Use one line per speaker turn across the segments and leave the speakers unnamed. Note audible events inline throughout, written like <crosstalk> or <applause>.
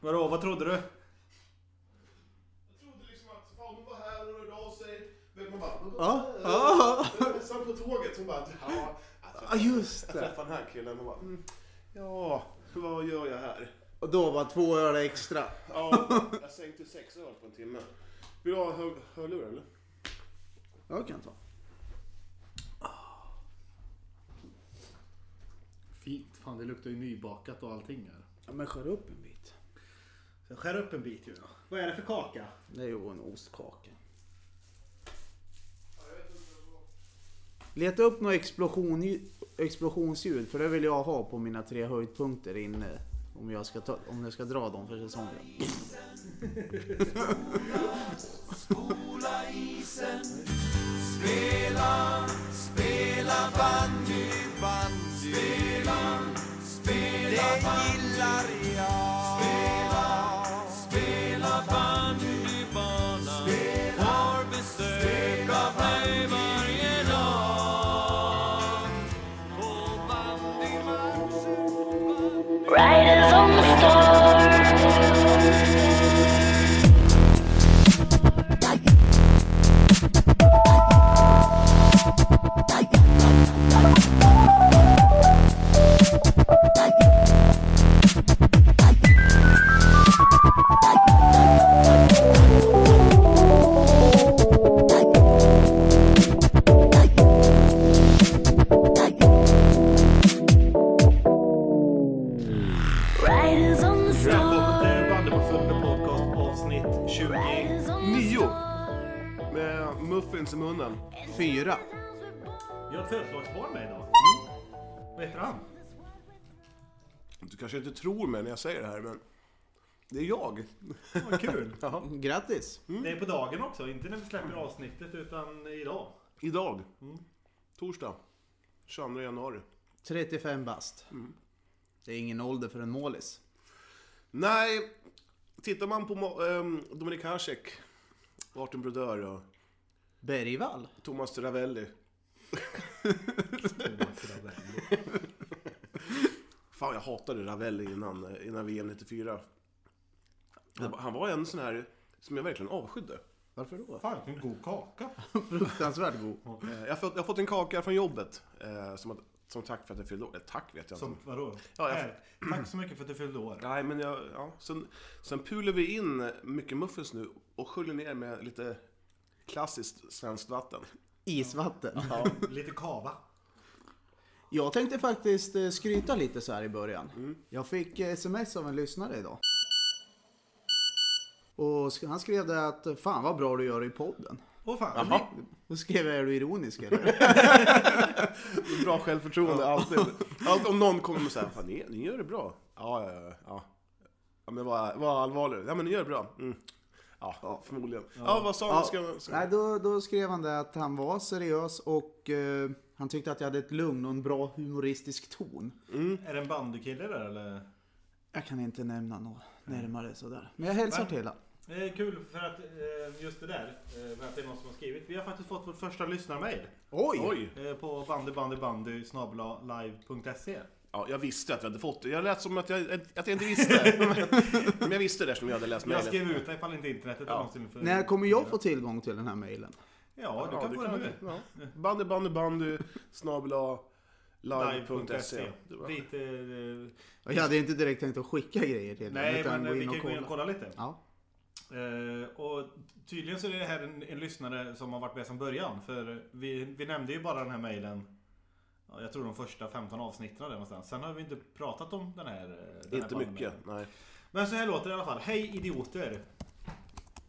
Vadå, vad trodde du?
Jag trodde liksom att fan hon var här och rörde av sig. Men man bara...
Ja, ja.
Men Sen på tåget så bara... Ja, alltså,
Ja, just
jag
det.
träffade den här killen och bara... Mm, ja, vad gör jag här?
Och då var två öl extra.
Ja, jag sänkte sex öl på en timme. Vill du ha hör- hörlurar eller?
Jag kan ta.
Fint. Fan, det luktar ju nybakat och allting här.
Ja, men skär upp en bit.
Så skär upp en bit Juno. Vad är det för kaka?
Det är ju en ostkaka.
Ja, jag vet inte vad det var.
Leta upp något explosion, explosionsljud för det vill jag ha på mina tre höjdpunkter inne. Om jag ska, ta, om jag ska dra dem för säsongen.
Riders on the storm. Riders on the storm.
Välkommen till Bandyportföljen podcast avsnitt 29
Riders on the
med muffins i munnen.
Fyra.
Jag har ett födelsedagsbarn med idag. Vad heter han?
Du kanske inte tror mig när jag säger det här men det är jag.
Vad kul.
Grattis!
<laughs> Det är på dagen också. Inte när vi släpper avsnittet utan idag.
Idag.
Mm.
Torsdag. 22 januari.
35 bast. Det är ingen ålder för en målis.
Nej, tittar man på Mo- ehm, Dominik Hasek, Arten Brodeur och
Bergvall?
Thomas Ravelli. Fan, jag hatade Ravelli innan, eh, innan VM 94. Han, var- han var en sån här som jag verkligen avskydde.
Varför då?
Fan vilken god kaka.
Fruktansvärt god.
Eh, Jag har fått, jag har fått en kaka från jobbet eh, som, att- som tack för att jag fyllde år. Eller tack vet jag inte.
Som vadå?
Ja, jag-
Här, Tack så mycket för att du fyllde år.
Nej, men jag, ja. sen, sen pular vi in mycket muffins nu och sköljer ner med lite klassiskt svenskt vatten.
Isvatten.
Lite kava.
Jag tänkte faktiskt eh, skryta lite så här i början. Jag fick eh, sms av en lyssnare idag. Och sk- han skrev det att Fan vad bra du gör i podden.
Åh fan.
Då skrev jag, är du
<laughs>
ironisk eller?
Bra självförtroende, alltid. Allt, om någon kommer och säger Fan, ni, ni gör det bra. Ja, ja, ja, ja. ja men vad, vad allvarlig. Ja, men ni gör det bra. Mm. Ja, förmodligen. Ja, vad sa han? Ska, ska...
Nej, då, då skrev han det att han var seriös och eh, han tyckte att jag hade ett lugn och en bra humoristisk ton.
Är det en bandykille där eller?
Jag kan inte nämna något närmare sådär. Men jag hälsar
Va?
till honom.
Det är kul för att eh, just det där. eh, Med att det är någon som har skrivit. Vi har faktiskt fått vårt första lyssnarmail.
Oj!
Oj!
eh, På bandybandybandy snabla live.se.
Ja, jag visste att jag hade fått det. Jag lät som att jag, att jag
<laughs>
inte visste. men jag visste det som jag hade läst
Jag
mejlet.
skrev ut det ifall inte internetet har någonsin för...
När kommer jag få tillgång till den här mejlen?
Ja, du
Ja,
kan
du
få den nu.
ja. Bandy, bandy, bandy, snabel-a, live.se.
Live.se. Dit, eh,
Och Jag hade inte direkt tänkt att skicka grejer till den,
nej,
utan
men eh,
gå
vi
in
kan
och
ju gå in och
kolla.
kolla lite.
Ja.
Eh, och tydligen så är det här en, en lyssnare som har varit med sedan början. För vi, vi nämnde ju bara den här mejlen. ja, Jag tror de första 15 avsnitten där någonstans. Sen har vi inte pratat om den här. eh, Den här
Inte
bandmailen.
mycket, nej.
Men så här låter det i alla fall. Hej idioter!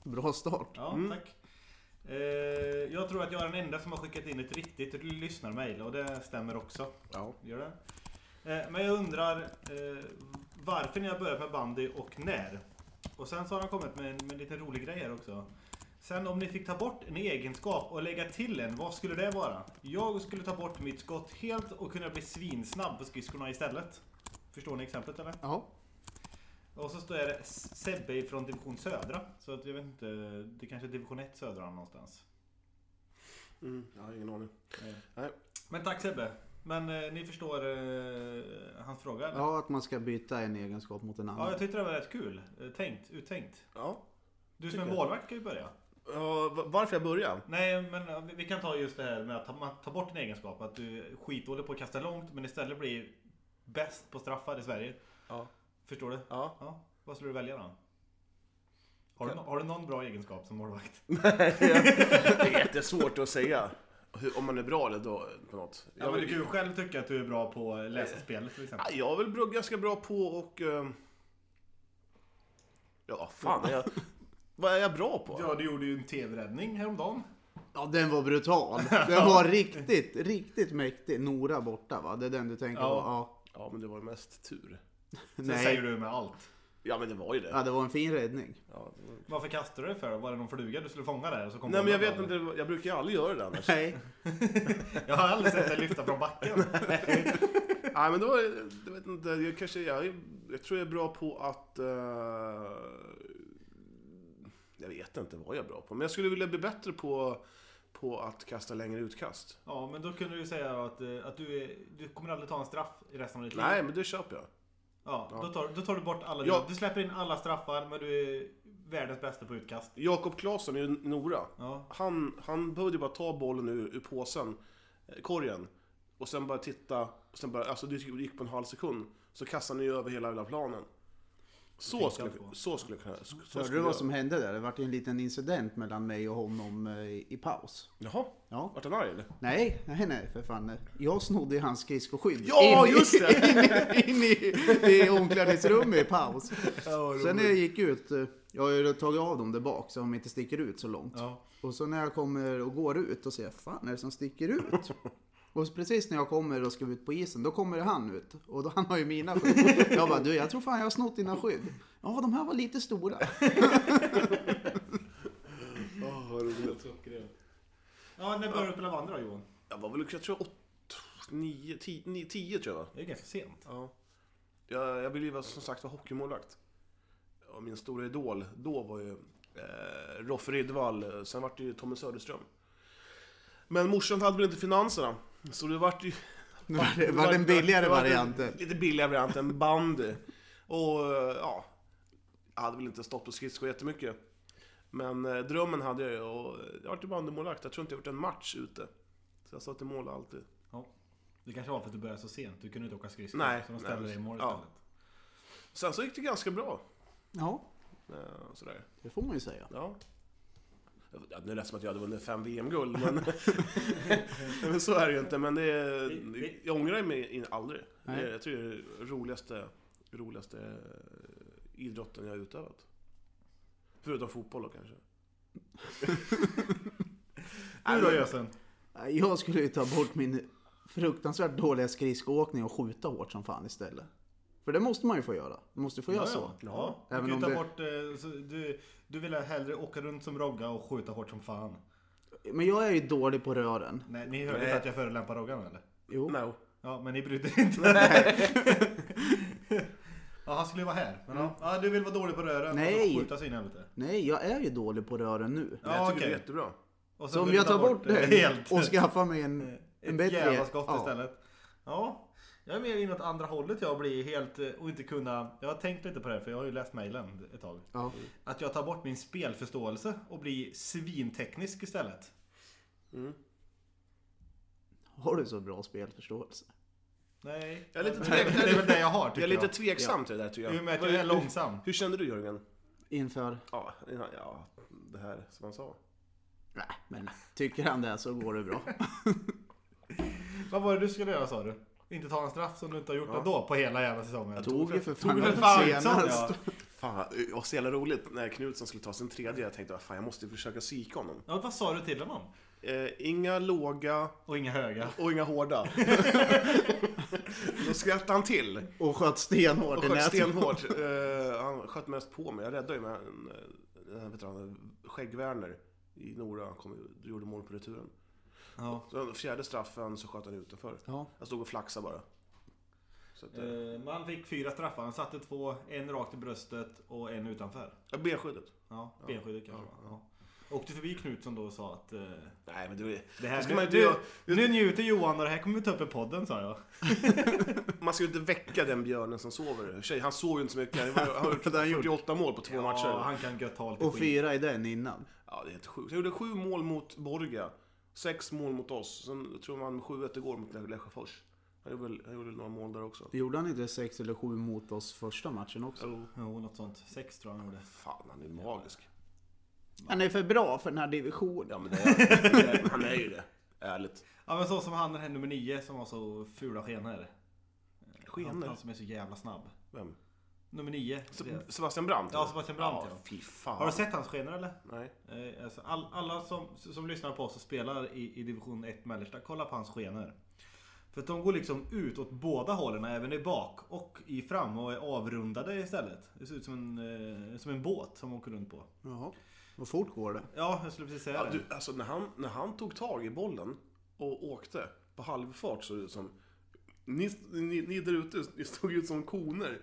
Bra start.
Ja, tack. Eh, jag tror att jag är den enda som har skickat in ett riktigt lyssnarmail och det stämmer också.
Ja.
Gör det. Eh, Men jag undrar eh, varför ni har börjat med bandy och när? Och sen så har han kommit med en, med en liten rolig grej här också. Sen om ni fick ta bort en egenskap och lägga till en, vad skulle det vara? Jag skulle ta bort mitt skott helt och kunna bli svinsnabb på skridskorna istället. Förstår ni exemplet eller?
Ja.
Och så står det S- Sebbe från division södra. Så att jag vet inte, det kanske är division 1 södra någonstans. Eh.
Mm, jag har ingen aning.
Men tack Sebbe! Men eh, ni förstår eh, hans fråga? eller?
Ja, att man ska byta en egenskap mot en
ja,
annan.
jag tyckte det var rätt kul. Eh, Tänkt, uttänkt.
Ja.
Du som
Tycker
är
jag.
målvakt kan ju börja.
Ja, va- varför jag börjar?
Nej, men eh, vi- vi kan ta just det här med att ta, man tar bort en egenskap. Att du är skitdålig på att kasta långt, men istället blir bäst på straffar i Sverige.
Ja.
Förstår du?
Ja.
Ja. Vad skulle du välja då? Har du, no- har du någon bra egenskap som målvakt?
Det är jättesvårt att säga hur, om man är bra eller då på något.
Ja, men du kan ju själv tycka att du är bra på att läsa spelet till exempel.
Ja, jag är väl bra- ganska bra på och... ehm, Ja, fan. är Jag, vad är jag bra på?
Ja, du gjorde ju en TV-räddning häromdagen.
Ja, den
<laughs>
var brutal. Den var riktigt, riktigt mäktig. Nora borta va? Det är den du tänker
Ja.
på? Ja.
Ja, men det var mest tur.
Sen säger
Nej.
du med allt.
Ja, men det var ju det.
Ja, det var en fin räddning.
Ja, det var...
Varför kastade du dig för då? Var det någon fluga du skulle fånga där? Och så kom
Nej, men jag
bollen
vet
fram?
inte. Jag brukar ju aldrig göra det
<laughs>
annars.
Nej.
Jag har aldrig sett dig lyfta <laughs> från backen.
Nej, men då... Jag vet inte. Jag kanske... Jag, är- jag tror jag är bra på att... eh, Jag vet inte vad jag är bra på. Men jag skulle vilja bli bättre på, på att kasta längre utkast.
Ja, men då kunde du ju säga att, eh, att du, är, du kommer aldrig ta en straff i resten av ditt liv.
Nej, men det köper jag.
Ja, Då, tar, då tar du bort alla...
Ja.
Du släpper in alla straffar, men du är världens bästa på utkast.
Jakob Claesson i Nora.
Ja.
Han, han behövde bara ta bollen ur, ur påsen, eh, korgen, och sen bara titta. Och sen bara, alltså det gick på en halv sekund. Så kastade han ju över hela, hela planen. Så
tänkte
skulle,
jag på.
jag- så skulle jag kunna... Så, så
Hörde
skulle
du vad
jag-
som hände där? Det vart ju en liten incident mellan mig och honom eh, i i paus.
Jaha,
Ja.
vart han arg eller?
Nej, nej, nej för fan. Jag snodde ju hans skridskoskydd.
Ja,
in, i-
just det!
in, i- <laughs> in i, i omklädningsrummet i paus. Sen när jag gick ut, eh, jag har ju tagit av dem där bak så de inte sticker ut så långt.
Ja.
Och så när jag kommer och går ut och ser, fan är det som sticker <laughs> ut? Och så precis när jag kommer och ska ut på isen, då kommer han ut. Och då, <laughs> han har ju mina <laughs> skydd. Jag bara, du jag tror fan jag har snott dina skydd. Ja, de här var lite stora.
<laughs> Åh, vad roligt.
Ja, när började du spela bandy då Johan?
Jag var väl, jag tror åtta, nio, tio, nio, tio tror jag va?
Det är ju ganska sent.
Ja. Jag, jag ville ju vara- som sagt vara hockeymålvakt. Och min stora idol då var ju eh, Roffe Rydvall, eh, sen vart det ju Tommy Söderström. Men morsan hade väl inte finanserna, så det vart ju...
Nu <laughs> var det, var den billigare
det vart en
varianten.
Lite billigare variant än bandy. Och eh, ja, jag hade väl inte stått på skridskor jättemycket. Men eh, drömmen hade jag ju och eh, jag vart ju bandymålvakt. Jag tror inte jag gjort en match ute. Så jag satt i mål alltid.
Ja. Det kanske var för att du började så sent. Du kunde inte åka skridskor.
Nej,
Så de
nej,
ställde dig i mål
ja.
istället.
Sen så gick det ganska bra.
Ja,
eh, Sådär.
det får man ju säga.
Ja. Ja, nu lät det som att jag hade vunnit fem VM-guld, <laughs> men... Nej, men så är det ju inte. Men det är,
Vi-
jag ångrar mig in- aldrig. Det är,
Nej.
jag tror det är det roligaste, roligaste eh, idrotten jag har utövat. Förutom fotboll då kanske.
Du då Jösen?
Jag skulle ju ta bort min fruktansvärt dåliga skridskoåkning och skjuta hårt som fan istället. För det måste man ju få göra. Man måste få göra så.
Ja,
Även
du kan ju
om
ta
det-
bort, eh, så du, du ville hellre åka runt som Rogga och skjuta hårt som fan.
Men jag är ju dålig på rören.
Nej, ni hörde
Nej.
inte att jag förolämpar Roggan eller?
Jo.
No.
Ja, men ni brydde
<laughs>
er inte. <laughs> ja, han skulle ju vara här. Men ja. ja, du vill vara dålig på rören och
Mm. Nej.
så skjuta sig in i helvete.
Nej, jag är ju dålig på rören nu.
Men jag
Ja,
tycker
okej.
det är jättebra.
Och
Så om
vill du
jag
ta
tar bort
det
den
helt.
och skaffar mig en, en
<laughs> Ett
bättre...
jävla skott
ja.
istället. Ja, jag är mer inåt andra hållet jag blir helt eh, och inte kunna. Jag har tänkt lite på det här, för jag har ju läst mejlen ett tag.
Ja.
Att jag tar bort min spelförståelse och blir svinteknisk istället.
Har du så bra spelförståelse?
Nej.
Jag är lite
Men
tveksam.
Det är väl det jag har
Jag är
tycker jag.
lite tveksam till det där tycker
I och med
jag.
att jag är
Vad-
långsam.
Hur kände du Jörgen?
Inför...
Ja, ja, det här som han sa.
Nej, men tycker han det så går
<laughs>
det bra.
Vad var det du skulle göra sa du? Inte ta en straff som du inte har gjort ändå på hela jävla säsongen. <laughs>
Tog ju för fan
Tog för
den
fan,
senast.
ja.
Fan, det var så jävla roligt när Knutsson skulle ta sin tredje. Jag tänkte, fan jag måste försöka psyka honom.
Ja, vad sa du till honom?
Eh, inga låga
Och inga höga.
och inga hårda. Då skrattade han till.
Och sköt stenhårt
Och
i
sköt
nätet. <laughs>
stenhårt. Eh, han sköt mest på mig. Jag räddade ju med en, eh, den här vet du, han, Skägg-Werner i Nora. Han kom, ju- gjorde mål på returen.
Ja.
Så den fjärde straffen så sköt han utanför.
Ja.
Jag stod och flaxade bara. Så att, eh,
Eh, Man fick fyra straffar. Han satte två, en rakt i bröstet och en utanför.
jag benskyddet.
Ja, benskyddet kanske. Ja. Åkte förbi Knutsson då och sa att eh,
Nej, men du,
det här,
Ska
nu,
man
man,
inte
du,
göra-
nu njuter Johan och det här kommer vi ta upp i podden sa jag.
man ska ju inte väcka den björnen som sover. Tjej, han sov ju inte så mycket. Han var- har gjort
Det har han gjort.
48 mål på två
Ja,
matcher.
han kan gött ta lite
Och
skit.
fyra i den innan.
Ja, det är helt sjukt. Han gjorde sju mål mot Borga. Sex mål mot oss. Sen tror jag han vann 7-1 igår mot Lä- Lesjöfors. Han gjorde, väl, han gjorde väl några mål där också.
Gjorde han inte sex eller sju mot oss första matchen också?
Jo.
Jo, något sånt. Sex tror jag han gjorde.
Fan, han är magisk.
Han är för bra för den här divisionen.
Ja, men det är, det är, han är ju det. Ärligt.
Ja men så som han den här nummer nio som har så fula skenor. Han,
Skener.
han som är så jävla snabb.
Vem?
Nummer nio.
Se-
Det-
Sebastian Brandt?
Ja,
eller?
Sebastian Brandt,
Ja,
ja.
fy fan.
Har du sett hans skenor eller?
Nej.
Eh, Alltså, all, alla som, som lyssnar på oss och spelar i, i division 1 mellersta, kolla på hans skenor. För att de går liksom ut åt båda hållen, även i bak och i fram och är avrundade istället. Det ser ut som en, eh, som en båt som åker runt på.
Jaha. Vad fort går det?
Ja, jag skulle precis säga
Ja,
det.
du, alltså när han, när han tog tag i bollen och åkte på halvfart såg det ut som... Ni, ni, ni där ute ni stod ut
<laughs>
som koner.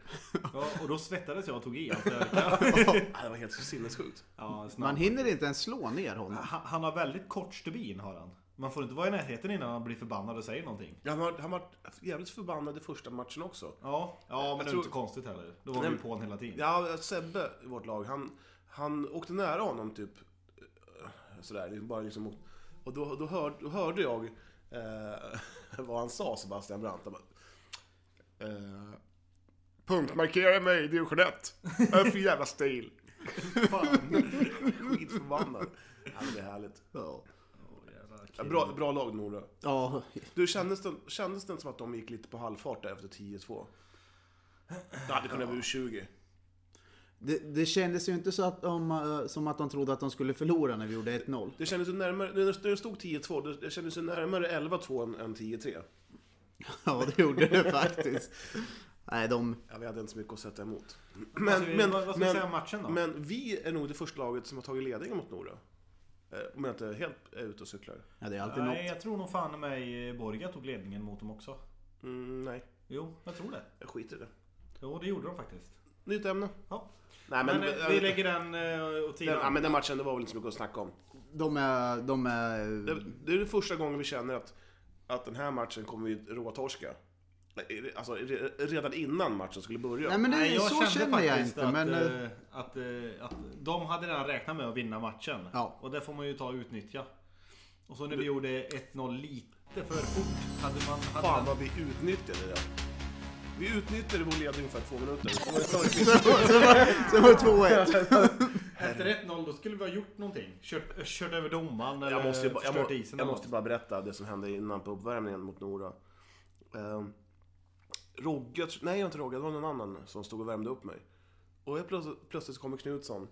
Ja, och då svettades jag och tog i allt jag orkade.
<laughs> Ja, det var helt sinnessjukt.
ja, snabbt.
Man hinner inte ens slå ner honom.
han, han har väldigt kort stubin har han. Man får inte vara i närheten innan han blir förbannad och säger någonting.
Ja, Han var, han var jävligt förbannad i första matchen också.
Ja, ja men det är
tror-
inte konstigt heller. Då var vi
Nej,
ju på honom hela tiden.
Ja, Sebbe i vårt lag, han, han åkte nära honom typ eh, sådär, liksom bara liksom mot, Och då, då, hör, då hörde jag eh, <laughs> vad han sa, Sebastian Brandt. Han bara, eh, Punktmarkera mig i division 1. Vad är det för jävla stil?
Fan.
Skitförbannad. Ja, men det är härligt.
Ja.
Åh, jävla
Ja,
kille.
bra, bra lag Nora.
Ja,
Du, kändes det, kändes det som att de gick lite på halvfart där efter 10-2? Det hade kunnat vara U20.
det, det kändes ju inte så att de, eh, som att de trodde att de skulle förlora när vi gjorde 1-0.
Det kändes ju närmare, när det stod 10-2, det- det kändes ju närmare 11-2 än, än 10-3.
<laughs> Ja, det gjorde det faktiskt. Nej, de...
Ja, vi hade inte så mycket att sätta emot.
Men, vad ska vi, vad, vad ska vi säga om matchen då?
men vi är nog det första laget som har tagit ledningen mot Nora. Eh, Om jag inte helt är ute och cyklar.
Ja, det är alltid
Nej,
något.
jag tror nog fan i mig Borga tog ledningen mot dem också.
Mm, nej,
Jo, jag tror det.
jag skiter i det.
Jo, det gjorde de faktiskt.
Nytt ämne.
Ja.
Nej,
Men,
men,
eh, vi lägger den eh, åt
den, ja,
sidan.
men den matchen, det var väl inte så mycket att snacka om.
De är... De är...
Det, det är den första gången vi känner att, att den här matchen kommer vi råtorska. Alltså re- redan innan matchen skulle börja.
Nej, men det,
jag
så känner jag
faktiskt
inte.
att,
Men, eh,
eh, att, eh, att de hade redan räknat med att vinna matchen.
Ja.
Och det får man ju ta och utnyttja. Och så när vi gjorde 1-0 lite för fort. Hade man... Hade
Fan
den-
vad vi utnyttjade det. Vi utnyttjade vår ledning för två minuter.
det eh, var 2-1.
Efter 1-0 då skulle vi ha gjort någonting. Kört, eh, kört över domaren eller
Jag måste, ju bara, jag,
förstört
må,
isen.
jag
eller
måste
något.
bara berätta det som hände innan på uppvärmningen mot Nora. Eh, Rogge, nej det var inte Rogge, det var någon annan som stod och värmde upp mig. Och jag plötsligt, plötsligt så kommer Knutsson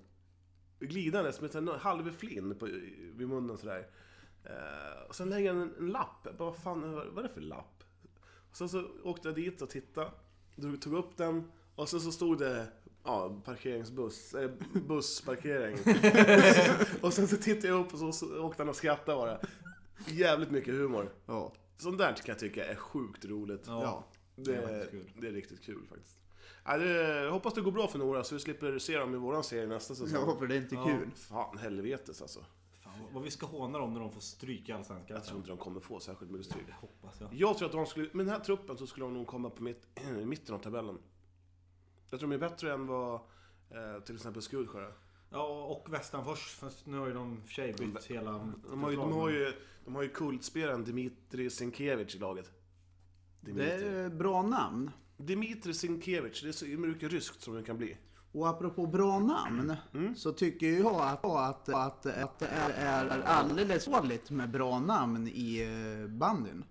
glidandes med en halv flin på, vid munnen sådär. Eh, och sen lägger han en, en lapp. Jag bara, vad fan vad är det för lapp? Och sen så åkte jag dit och tittade. Drog, tog upp den. Och sen så stod det ja, parkeringsbuss, eh, bussparkering. och sen så tittade jag upp och så, så åkte han och skrattade bara. Jävligt mycket humor.
Ja.
Sånt där kan jag tycka är sjukt roligt.
Ja.
det,
det är
är
faktiskt kul.
det är riktigt kul faktiskt. Ja, det, jag hoppas det går bra för Nora så vi slipper se dem i våran serie nästa säsong.
ja, för det är inte
Ja.
kul.
Fan helvetes alltså.
Fan, vad vi ska håna dem när de får stryka allsvenskan.
Jag tror inte de kommer få särskilt mycket stryk.
Det hoppas jag.
Jag tror att de skulle, med den här truppen så skulle de nog komma på mitt, <clears throat> i mitten av tabellen. Jag tror de är bättre än vad eh, till exempel Skudsjö är.
Ja, och Västanfors. Fast nu har ju de i och för sig bytt hela...
De har ju, de har ju, de har ju kultspelaren Dimitri Sinkevich i laget.
Det
Dimitri,
är bra namn.
Dimitri Sinkevich, det är så mycket ryskt som det kan bli.
Och apropå bra namn
Mm.
så tycker jag att, att, att, att det är, är alldeles dåligt med bra namn i eh, bandyn.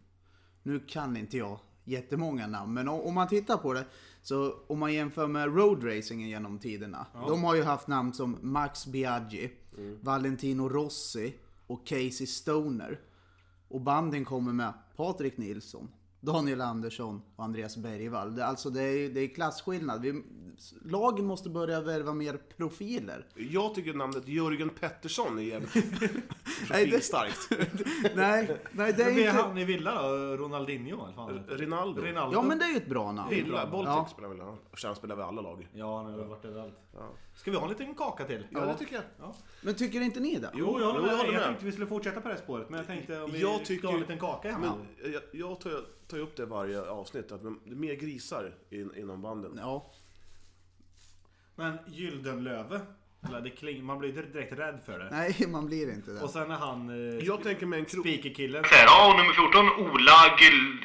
Nu kan inte jag jättemånga namn, men o- om man tittar på det så om man jämför med roadracingen genom tiderna. De har ju haft namn som Max Biaggi, Valentino Rossi och Casey Stoner. Och banden kommer med Patrik Nilsson, Daniel Andersson och Andreas Bergvall. Det, alltså det är, det är klassskillnad. Vi, lagen måste börja värva mer profiler.
<laughs> Jag tycker namnet Jörgen Pettersson är jävligt...
Nej, det-
starkt.
Nej, nej det
Men
är
det är
inte...
han i Villa då? Ronaldinho eller fan?
Rinaldo.
Rinaldo?
Ja men det är ju ett bra namn.
Villa, Baltic
Ja.
spelar väl han? Och sen spelar väl alla lag?
Ja, han har väl varit överallt.
Ja.
Ska vi ha en liten kaka till?
Ja, det tycker jag.
Ja.
Men tycker inte ni det?
Jo,
Jo, jag håller
jo,
med.
jag
Jag,
håller med.
tänkte vi skulle fortsätta på det här spåret, men jag tänkte om vi
Jag
ska
tycker-
ha en liten kaka i handen.
Men jag, jag tar, tar upp det varje avsnitt, att det är mer grisar in, inom banden.
Ja.
Men Gyldenlöve, eller det kling, man blir inte direkt rädd för det.
Nej, man blir inte det.
Och sen är han eh,
Jag tänker mig en krok...
speakerkillen.
Så här, ja, och nummer 14, Ola Gyld...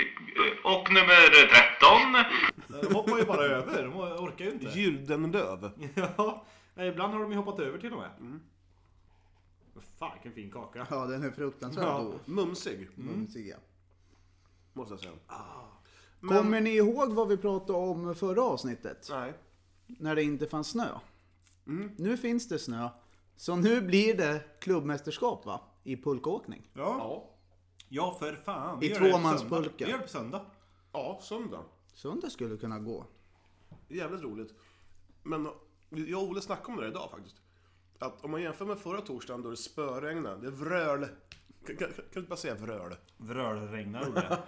Och nummer 13.
De Eh, hoppar ju bara över, de orkar ju inte.
Gyldenlöv.
<laughs> Ja, nej, ibland har de ju hoppat över till och med. Mm. Fan vilken fin kaka.
Ja, den är fruktansvärt
Ja,
god.
mumsig,
Mm. tycker jag.
måste jag säga. Men-
Kommer ni ihåg vad vi pratade om förra avsnittet?
Nej.
När det inte fanns snö.
Mm.
Nu finns det snö. Så nu blir det klubbmästerskap va? I pulkaåkning.
Ja,
Ja.
ja för fan.
I
Vi gör det på
tvåmanspulka.
söndag. Vi gör det på söndag.
Ja, söndag.
Söndag skulle kunna gå.
Jävligt roligt. Men jag och Olle snackade om det där idag faktiskt. Att om man jämför med förra torsdagen då det spöregnade, det vröl. Kan, kan, kan du inte bara säga vröl?
Vrölregnar Olle.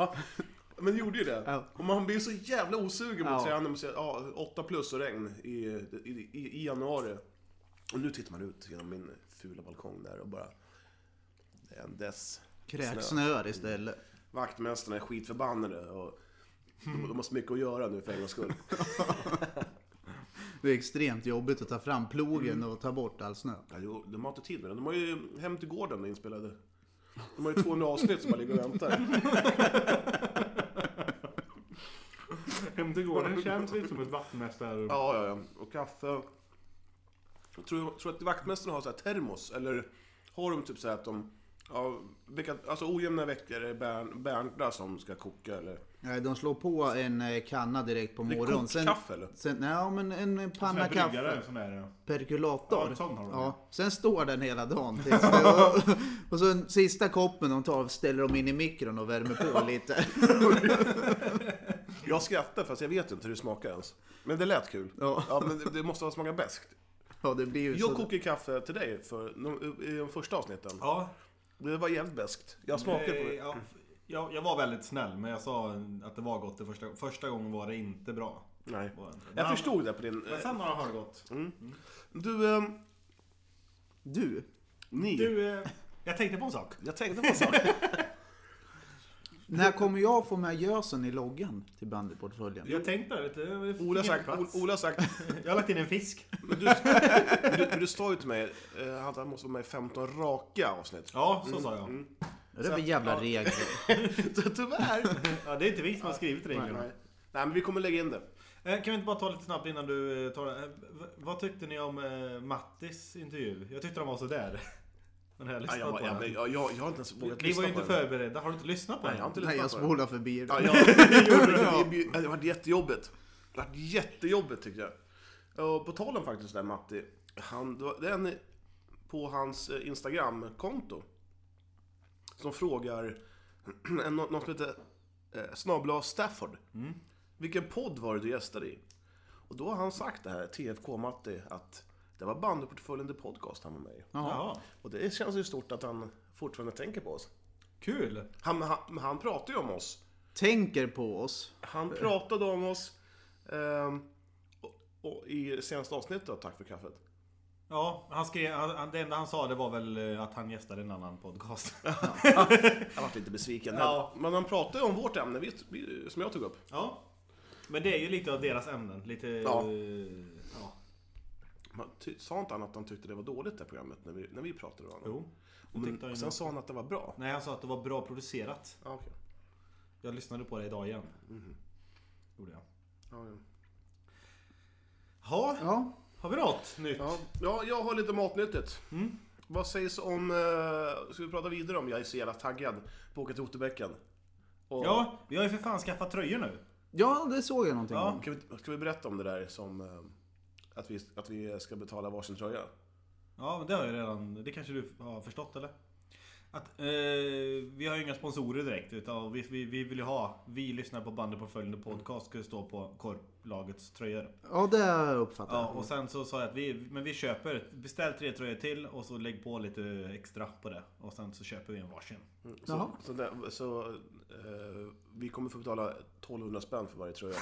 Men det gjorde ju det.
Ja.
Och man blir så jävla osugen på
Ja.
att säga att ja, 8 plus och regn i, i, i, i januari. Och nu tittar man ut genom min fula balkong där och bara... Det är en dess.
Kräksnöar istället.
Vaktmästarna är skitförbannade och de, de har så mycket att göra nu för en gångs skull.
Det är extremt jobbigt att ta fram plogen
Mm.
och ta bort all snö.
Ja, jo, de har inte tid med det. De har ju Hem till gården inspelade. De har ju 200 avsnitt som bara ligger och väntar.
Hem till gården känns lite som ett vaktmästare.
Ja, ja, ja. Och kaffe. Jag tror, tror att vaktmästarna har så här termos, eller har de typ så här att de... Ja, vilka, alltså ojämna veckor är Bern- Bernda som ska koka eller...
Nej, de slår på en eh, kanna direkt på
Det är
morgonen. Sen,
kokkaffe eller?
sen, nej, men
Sån
en eh,
här
panna
bryggare,
kaffe.
sån där.
Perkulator.
Ja, en sån har de,
ja. Sen står den hela dagen. Tills, och, <laughs> och sen sista koppen de tar ställer de in i mikron och värmer på lite. <laughs>
Jag skrattar fast jag vet inte hur det smakar ens. Men det lät kul.
Ja.
men det, det måste ha smakat beskt.
Ja, det blir ju så.
Jag kokade kaffe till dig för, i de första avsnitten.
Ja,
Det var jävligt beskt. Jag smakade på
Eh,
det.
ja, jag, jag var väldigt snäll, men jag sa att det var gott det första Första gången var det inte bra.
Nej.
Var det inte.
Jag Mm.
Men-
förstod det på din...
Men sen har det gått.
Du, eh,
Du,
ni.
Du, eh, jag tänkte på en sak.
Jag tänkte på en sak.
när kommer jag få med gösen i loggan till bandyportföljen?
Jag tänkte på det lite. det fick
<laughs> Ola
ingen
har sagt,
plats.
Ola har sagt
Jag har lagt in en fisk.
men du, du, du sa ju till mig eh, att han måste vara med i 15 raka avsnitt.
Ja, så sa jag.
Är det för jävla regler?
Så <laughs> Tyvärr.
Ja, det är inte vi som har skrivit reglerna.
Nej, men vi kommer lägga in det.
Eh, Kan vi inte bara ta lite snabbt innan du eh, tar det? Eh, v- Vad tyckte ni om eh, Mattis intervju? Jag tyckte den var sådär. Men jag har
Ja,
lyssnat
jag,
på <laughs>
jag,
den.
jag, jag, jag har inte ens vågat
Ni var ju
lyssna
inte
på den.
förberedda. Har du inte lyssnat på
Nej,
den?
jag har inte
Nej, jag
lyssnat på den.
spolar förbi
Ja,
det. <laughs>
jag, det, gjorde det. Det- det, det var jättejobbigt. Det var jättejobbigt tycker jag. Och på talen faktiskt där Matti, han, det var- det är en på hans eh, Instagram-konto som frågar <clears throat> en- nå- någon som heter eh, snabla Stafford. Vilken podd var det du gästade i? Och då har han sagt det här, TFK-Matti, att det var bandyportföljen The Podcast han var med i.
Ja.
Jaha,
Och det känns ju stort att han fortfarande tänker på oss.
kul!
Han, han, han pratar ju om oss.
Tänker på oss.
Han pratade om oss ehm, och, och i senaste avsnittet av Tack för kaffet.
Ja, han skrev, han, han- det enda han sa det var väl eh, att han gästade en annan
<laughs>
podcast.
Jag varit lite besviken.
Ja.
Men han pratade om vårt ämne vi, vi, som jag tog upp.
ja. Men det är ju lite av deras ämnen. Lite...
Ja.
eh, ja.
Man ty, sa inte han att han tyckte det var dåligt det här programmet när vi, när vi pratade om honom?
Jo. det tyckte han
Men,
ju
Mm. sen
nog.
sa han att det var bra.
Nej, han sa att det var bra producerat.
Ja, okej.
Jag lyssnade på det idag igen. Gjorde jag.
ja, ja.
Ha,
Ja,
har vi något nytt?
Ja. ja, jag har lite matnyttigt.
Mm.
Vad sägs om... Eh, ska vi prata vidare om jag är så jävla taggad på att åka till Otterbäcken? Och-
Ja, vi har ju för fan skaffat tröjor nu.
ja det såg jag någonting
Ja.
om.
Kan vi, ska vi berätta om det där som... Eh, att, vi, att vi ska betala varsin tröja?
Ja, men det har jag redan... Det kanske du har förstått eller? Att, eh, vi har ju inga sponsorer direkt utan vi, vi, vi vill ju ha Vi lyssnar på bandet på följande podcast ska det stå på korp, lagets tröjor.
Ja, det uppfattar
Ja,
jag.
och sen så sa jag att vi, men vi köper, beställ tre tröjor till och så lägg på lite extra på det. Och sen så köper vi en varsin.
Jaha.
Så, så, där, så eh, vi kommer få betala 1200 spänn för varje tröja.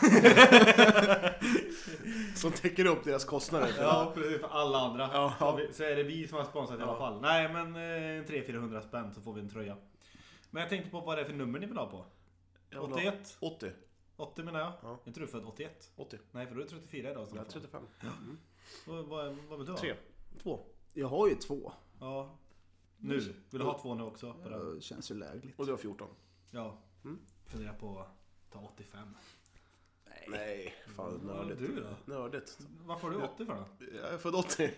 Som täcker upp deras kostnader. För
Ja, precis. För alla andra.
Ja.
Så, vi, så är det vi som har sponsrat i alla fall. Nej, men eh, 300-400 spänn så får vi en tröja. Men jag tänkte på vad det är för nummer ni vill ha på.
Jag vill ha
81?
80.
80 menar jag.
Ja.
Är inte du född 81?
80.
Nej, för du är 34 idag.
Nej,
Så
35.
vad, vad, vad vill du ha?
3. 2.
Jag har ju två.
Ja. Nu.
Mm.
Vill du ha två nu också? På det?
Det känns ju lägligt.
Och du har 14.
Ja.
Mm.
Fundera på att ta 85.
Nej, fan
Vad vill
nördigt.
du då?
Nördigt.
Varför har du 80 för då?
Jag är född 80.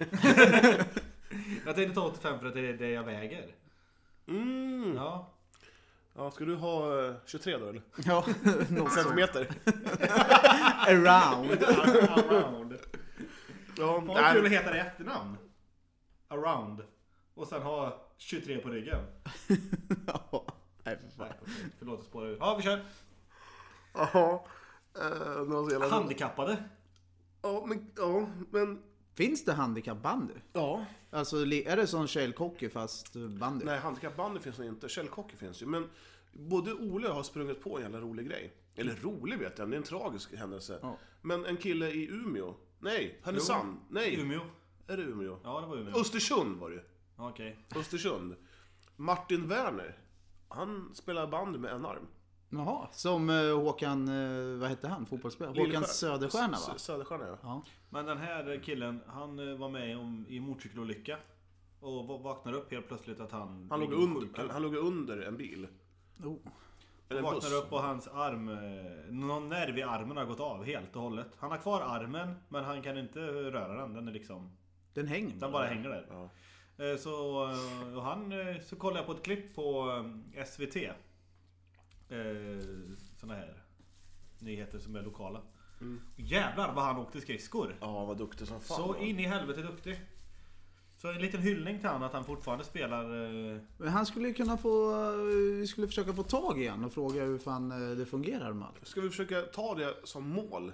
Jag tänkte ta 85 för att det är det jag väger.
Mm.
Ja.
<laughs> Ja, ska du ha eh, 23 då eller?
Ja, <laughs> något sånt.
Centimeter?
<laughs>
Around.
Around.
Ja,
Fan vad kul att
nej.
heta det i efternamn. Around. Och sen ha 23 på ryggen.
Ja. Nej, för fan.
Nej, okej. Förlåt att spåra ur. Ja, vi kör.
Jaha. Eh, någon så jävla-
Handikappade.
Ja, men... Ja, men...
Finns det handikappbandy?
Ja.
Alltså, li- är det som kälkhockey fast bandy?
Nej, handikappbandy finns nog inte. Källkocker finns ju. Men både Ole och jag har sprungit på en jävla rolig grej. Eller rolig vet jag, det är en tragisk händelse.
Ja.
Men en kille i Umeå. Nej, Härnösand. Nej.
Umeå.
Är det Umeå?
Ja, det var Umeå.
Östersund var det ju.
Ja, Okej.
Östersund. Martin Werner. Han spelar bandy med en arm.
Jaha, som eh, Håkan, eh, vad hette han, fotbollsspelare? Håkan
Lillskär-
Söderstjärna va?
S- Söderstjärna ja.
Ja.
Men den här killen, han eh, var med om, i motorcykelolycka. Och va- vaknar upp helt plötsligt att han...
Han låg,
ligger
under,
sjuk.
han, han låg under en bil.
Oh.
Eller en buss.
Vaknar upp och hans arm, eh, någon nerv i armen har gått av helt och hållet. Han har kvar armen, men han kan inte röra den. Den är liksom
Den hänger
Den bara hänger där.
Ja.
Eh, Så, eh, och han, eh, så kollade jag på ett klipp på eh, SVT. Sådana Eh, här nyheter som är lokala. Och Jävlar vad han åkte skridskor!
Ja, vad duktig som Mm. fan.
Så
han var.
in i helvete duktig! Så en liten hyllning till han att han fortfarande spelar... eh,
Men han skulle ju kunna få, eh, vi skulle försöka få tag i han och fråga hur fan eh, det fungerar med allt.
Ska vi försöka ta det som mål?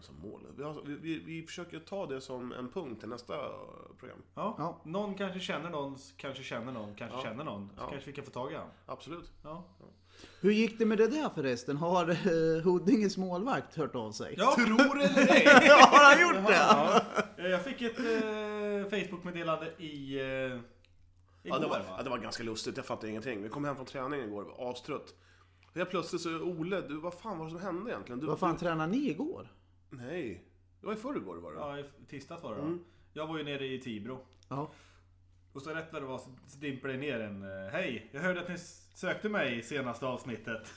Som mål? Vi, har, vi, vi, vi försöker ta det som en punkt till nästa eh, program.
Ja.
Ja.
Någon kanske känner någon, kanske känner någon, kanske känner någon. Så
Ja.
kanske vi kan få tag i han.
Absolut.
Ja,
Hur gick det med det där förresten? Har eh, Huddinges målvakt hört av sig?
ja. <laughs>
Tror det eller ej?
Har han gjort det?
Ja. Eh, Jag fick ett eh, Facebook-meddelande i... Eh, igår,
Ja, det, var,
va?
ja, det var ganska lustigt, jag fattade ingenting. Vi kom hem från träningen igår, var astrött. Helt plötsligt så, Ole, du, vad fan var det som hände egentligen? Du,
Vad fan
du,
tränade ni igår?
Nej, det var i förrgår var Mm. det.
Ja, i tisdags var det då. Jag var ju nere i Tibro.
Ja.
Och så rätt vad det var så så dimper det ner en... eh, Hej! Jag hörde att ni s- sökte mig i senaste avsnittet.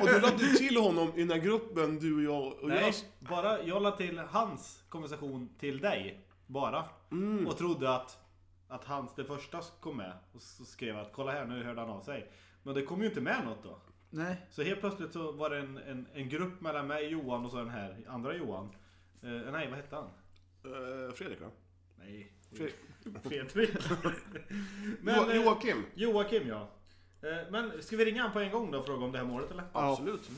Och du lade ju till honom i den här gruppen, du och jag. Och
Nej,
jag
bara jag la till hans konversation till dig. Bara.
Mm.
Och trodde att, att hans, det första kom med. Och så skrev jag att kolla här nu hörde han av sig. Men det kom ju inte med något då.
Nej.
Så helt plötsligt så var det en, en, en grupp mellan mig, Johan och så den här andra Johan. Eh, nej, vad hette han?
Eh, Fredrik va?
Nej,
Fredrik.
<laughs> Fredrik.
Jo-
eh,
Joakim?
Joakim ja. Eh, Men ska vi ringa han på en gång då och fråga om det här målet eller?
Absolut.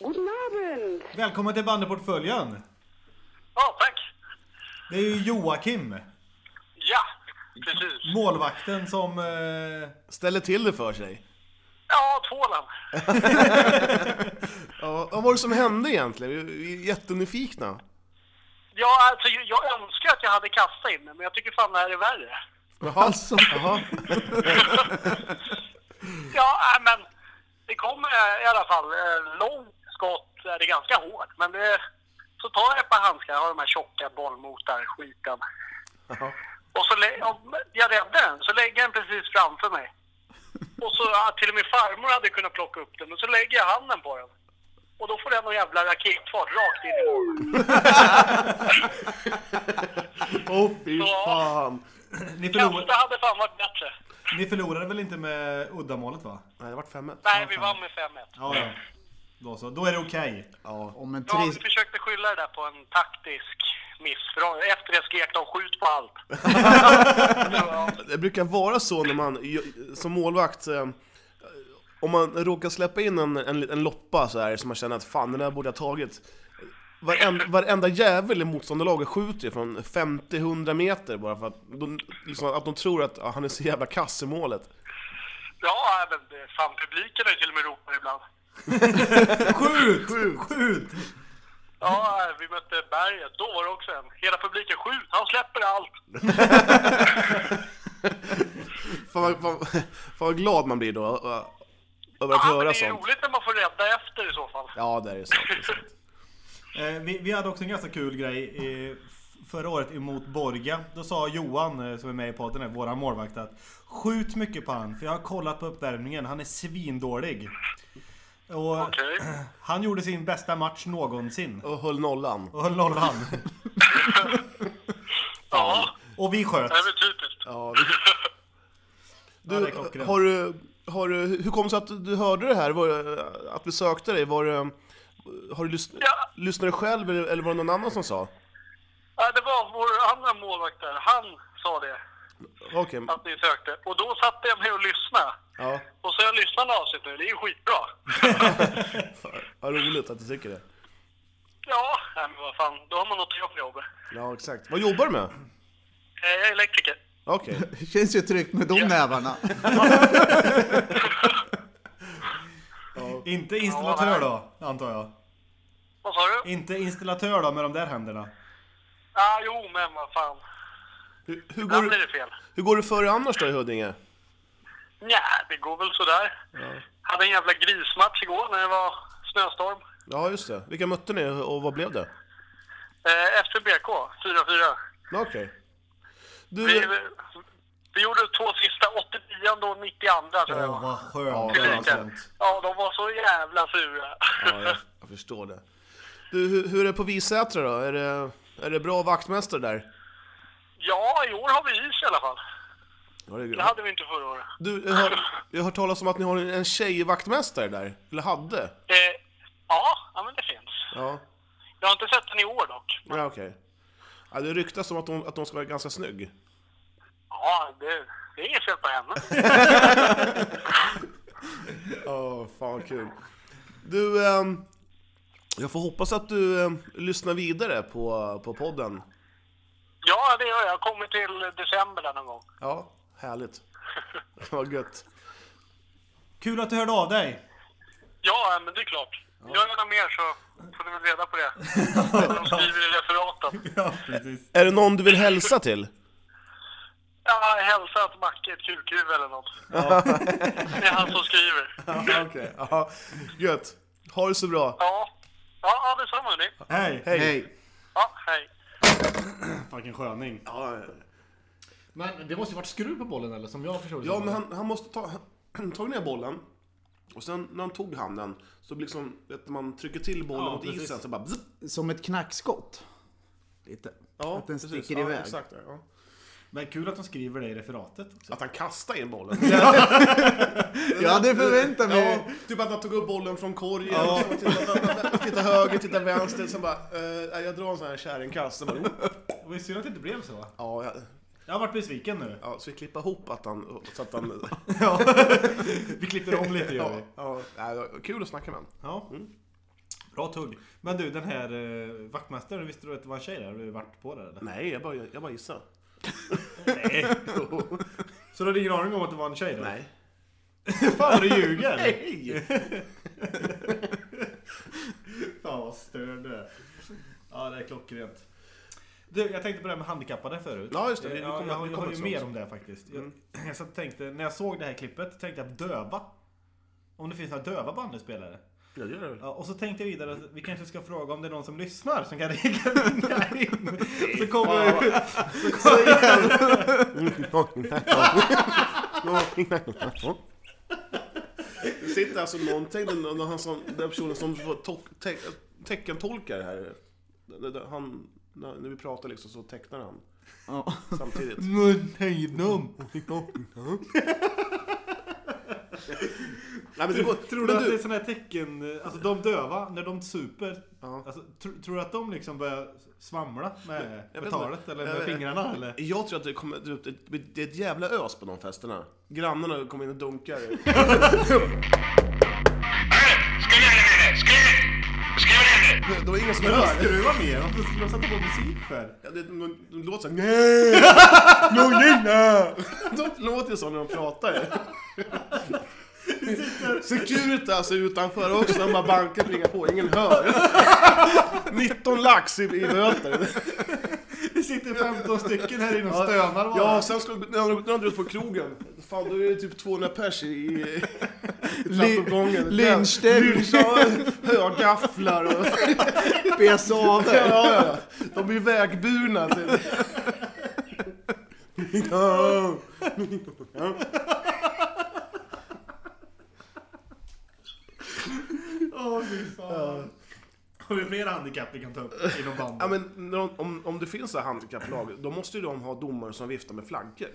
Guten Abend.
Välkommen till bandyportföljen!
Ja, tack.
Det är ju Joakim,
Ja, precis.
målvakten som... eh,
Ställer till det för sig.
Ja, tvålan.
Ja, vad var det som hände egentligen? Vi- Vi är jättenyfikna.
Ja, alltså, jag önskar att jag hade kastat in men jag tycker fan det här är värre.
Jaha. Jaha.
Ja, äh, men det kommer eh, i alla fall. eh, Långt skott är det ganska hårt, men det... Så tar jag ett par handskar, jag har de här tjocka bollmotar, skiten. Och så lä- om jag räddar den, så lägger jag den precis framför mig. Och så ja, till och med farmor hade kunnat plocka upp den, men så lägger jag handen på den. Och då får den någon jävla raketfart rakt in i målet.
Åh fy
Ja.
fan.
Ni,
Kasta
förlor,
hade fan varit bättre.
ni förlorade väl inte med uddamålet va?
Nej, det vart 5
Nej, vi vann med 5-1.
Ja, ja. Då så, då är det okej.
Ja.
Om en
Ja, vi
trist...
försökte skylla det där på en taktisk miss. För de- efter det skrek de skjut
<laughs>
på allt. Så, ja.
Det brukar vara så när man som målvakt, eh, om man råkar släppa in en, en, liten loppa så här som man känner att fan den där borde jag tagit. Varenda, varenda jävel i motståndarlaget skjuter ju från 50-100 meter bara för att de, liksom, att de tror att ah, han är så jävla kass i målet.
ja, men det- fan publiken har ju till och med ropat ibland.
<laughs> Skjut! Skjut!
Ja, vi mötte Berget. Då var det också en. Hela publiken skjut, han släpper allt.
Fan, vad- fan, <laughs> fan vad glad man blir då eh, över
Ja,
att
men
höra
det är ju
sånt.
roligt när man får rädda efter i så fall.
Ja, det är sant. Det är sant.
Eh, vi, vi hade också en ganska kul grej eh, f- förra året emot Borga. Då sa Johan, eh, som är med i podden, här, våran målvakt, att skjut mycket på han, för jag har kollat på uppvärmningen. Han är svindålig. Och
<laughs> Okej.
han gjorde sin bästa match någonsin.
Och höll nollan.
Och höll nollan.
Ja,
Och vi sköt.
det är väl typiskt.
Ja, vi...
Ja, det
Du,
är klockrent.
har du, har du, hur kom det sig att du hörde det här? Var, det- att vi sökte dig? Var det, har du lyssn,
Ja.
lyssnat själv eller eller var det någon annan som sa?
Ja, det var vår andra målvakt där. Han sa det,
Okej,
att ni sökte. Och då satte jag mig och lyssnade.
ja.
Och så har jag lyssnat en avsnitt nu. Det är ju skitbra.
Vad roligt att du tycker det.
Ja, nej, men vad fan. Då har man något att göra på jobbet.
Ja, exakt. Vad jobbar du med?
Eh, Jag är elektriker.
Okej.
<laughs> Det känns ju tryggt med de nävarna.
Inte installatör då, antar jag.
Vad sa du?
Inte installatör då, med de där händerna.
Ja, jo, men vad fan.
Hur, hur, går
Ibland blir
du-
det fel.
hur går du före annars då i Huddinge?
Nja, det går väl sådär. Hade en jävla grismatch igår när det var snöstorm.
Ja, just det. Vilka mötte ni och vad blev det?
Eh, efter BK, 4-4.
Ja, Okej. Du,
Vi, vi gjorde de två sista, 89 och 92 tror jag.
Åh, vad
Ja,
skönt.
det var
Ja,
skönt.
Ja, de var så jävla sura.
Ja, jag, jag förstår det. Du, hur, hur är det på Visätra då? Är det, är det bra vaktmästare där?
<laughs> ja, i år har vi is i alla fall.
Ja, det är
Det hade vi inte förra året.
Du, jag har, jag har hört talas om att ni har en en tjejvaktmästare där. Eller hade.
Eh, ja, ja, men det finns.
Ja,
Jag har inte sett den i år dock.
ja okej. Ja, det ryktas om att de, att de ska vara ganska snygg.
Ja, det, det är inget fel på henne.
Åh, fan vad kul. Du, ehm, jag får hoppas att du ehm, lyssnar vidare på, på podden.
<laughs> Ja, det gör jag. Jag kommer till december där någon gång.
Ja, härligt. <laughs> Vad gött.
Kul att du hörde av dig.
Ja, men det är klart. Gör jag något mer så får ni väl reda <laughs> på det. De skriver i referaten.
Ja, precis.
Är det någon du vill hälsa till?
Ja, hälsa att Macke är ett kukhuvud eller något. Det är han som skriver.
Ja, okej. Ja, gött. Ha det så bra.
Ja, ja, ja detsamma hörni.
Hej!
Hej.
Ja, hej.
Fucking sköning.
Men det måste ju varit skruv på bollen eller? Som jag förstår det
Ja,
som.
men han, han måste ta... <clears throat> Han tog ner bollen. Och sen när han tog handen så liksom, vet du, man trycker till bollen
Ja,
mot
precis.
isen så bara... Bzz,
Som ett knackskott. Lite. att den
precis.
sticker iväg.
Ja, exakt, ja.
Men kul att de skriver det i referatet också.
Att han kastade in bollen.
Jag hade förväntat mig...
ja, typ att han tog upp bollen från korgen. Liksom, Ja. <laughs> Titta höger, titta vänster. Sen bara, eh, jag drar en sån här kärringkast. Sen bara, oh.
Det var ju synd att det inte blev så.
ja, jag,
Jag har varit besviken nu.
ja, så vi klipper ihop att han... Så att han
Vi klipper om lite gör
<laughs> ja, Mm.
vi.
ja, ja, det var kul att snacka med honom.
Ja. Bra tugg. Men du, den här eh, vaktmästaren, visste du att det var en tjej där? Har du varit på det eller?
Nej, jag bara, jag bara gissar.
Nej.
<laughs>
så du hade ingen aning om att det var en tjej där?
Nej.
<laughs> Fan vad du ljuger!
<laughs> Nej!
Fan vad störd du är. Ja, det är klockrent. Du, jag tänkte på det här med handikappade förut.
Ja, just det. Vi- vi
Ja,
kommer-
jag, har-
vi
jag
kommer
har ju
till
mer
sånt. Mm.
om det här faktiskt. <clears throat> Jag, jag satt och tänkte, när jag såg det här klippet, tänkte jag döva. Om det finns några döva bandyspelare.
Jag gör det väl.
Ja, och så tänkte jag vidare att vi kanske ska fråga om det är någon som lyssnar som kan <laughs> ringa in. Så kommer vi...
Det sitter alltså någonting, den, den, han som, den personen som får tok, te, teckentolkar här. Den- den- Han, när när vi pratar liksom så tecknar han
Ja.
samtidigt.
Mun Hejdum.
Nej, men det går,
Tror du
men
att det är sådana här tecken, alltså de döva, när de super, alltså, tr- tror du att de liksom börjar svamla med, med
Jag vet
talet
inte.
eller
Jag
med
vet-
fingrarna eller?
Jag tror att det kommer det- det- det är ett jävla ös på de festerna. Grannarna kommer in och dunkar.
Skruv ner det! Skruv! Skruv ner det!
Det var ingen som
Vad
hörde.
skruva med? Varför skulle de sätta på musik för?
Ja, det- De de låter såhär nej, no gilla! De låter ju så när de pratar. Securitas är alltså utanför också, de bara bankar plingar på, ingen hör. 19 lax i, i böter.
<laughs> Det sitter 15 stycken här inne och stönar bara.
Ja, sen slog, när de- när de drog ut på krogen, fan då är det typ 200 pers i, i trappuppgången.
lynchställ.
Lynch, ja, Högafflar och...
Bes
Ja, ja, ja. De blir vägburna typ. Ja.
Åh, fy fan. Har vi fler handikapp vi kan ta upp inom bandet?
Ja, men när de- om, om det finns så här handikapplag, då måste ju de ha domare som viftar med flaggor.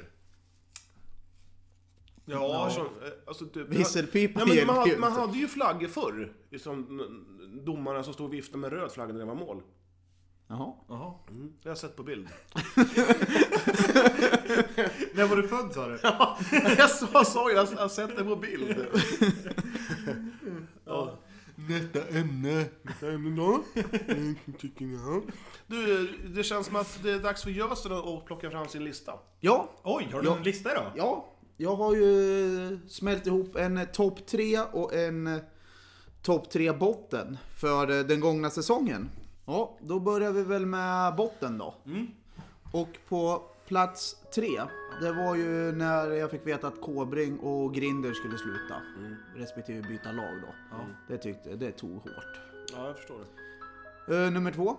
Ja, som, eh, alltså typ...
Visselpipa
Ja, men
hjälper ju
man,
inte.
man hade ju flaggor förr. Liksom, n- domarna som stod och viftade med röd flagga när det var mål.
Jaha.
Jaha.
Mm, det har jag sett på bild.
När var du född sa du?
<laughs> jag sa- jag sa ju, jag har sett det på bild. ja. Detta ämne. Detta ämne då? Tycker jag. Du, det känns som att det är dags för Gösen att plocka fram sin lista.
Ja,
Oj, har du en lista idag?
ja. Jag har ju eh, smält ihop en eh, topp tre och en eh, topp tre botten för eh, den gångna säsongen. Ja, då börjar vi väl med botten då.
Mm.
Och på plats tre, det var ju när jag fick veta att Kåbring och Grinder skulle sluta.
Mm.
Respektive byta lag då. Det tyckte, det tog hårt.
Ja, jag förstår det.
Eh, nummer två,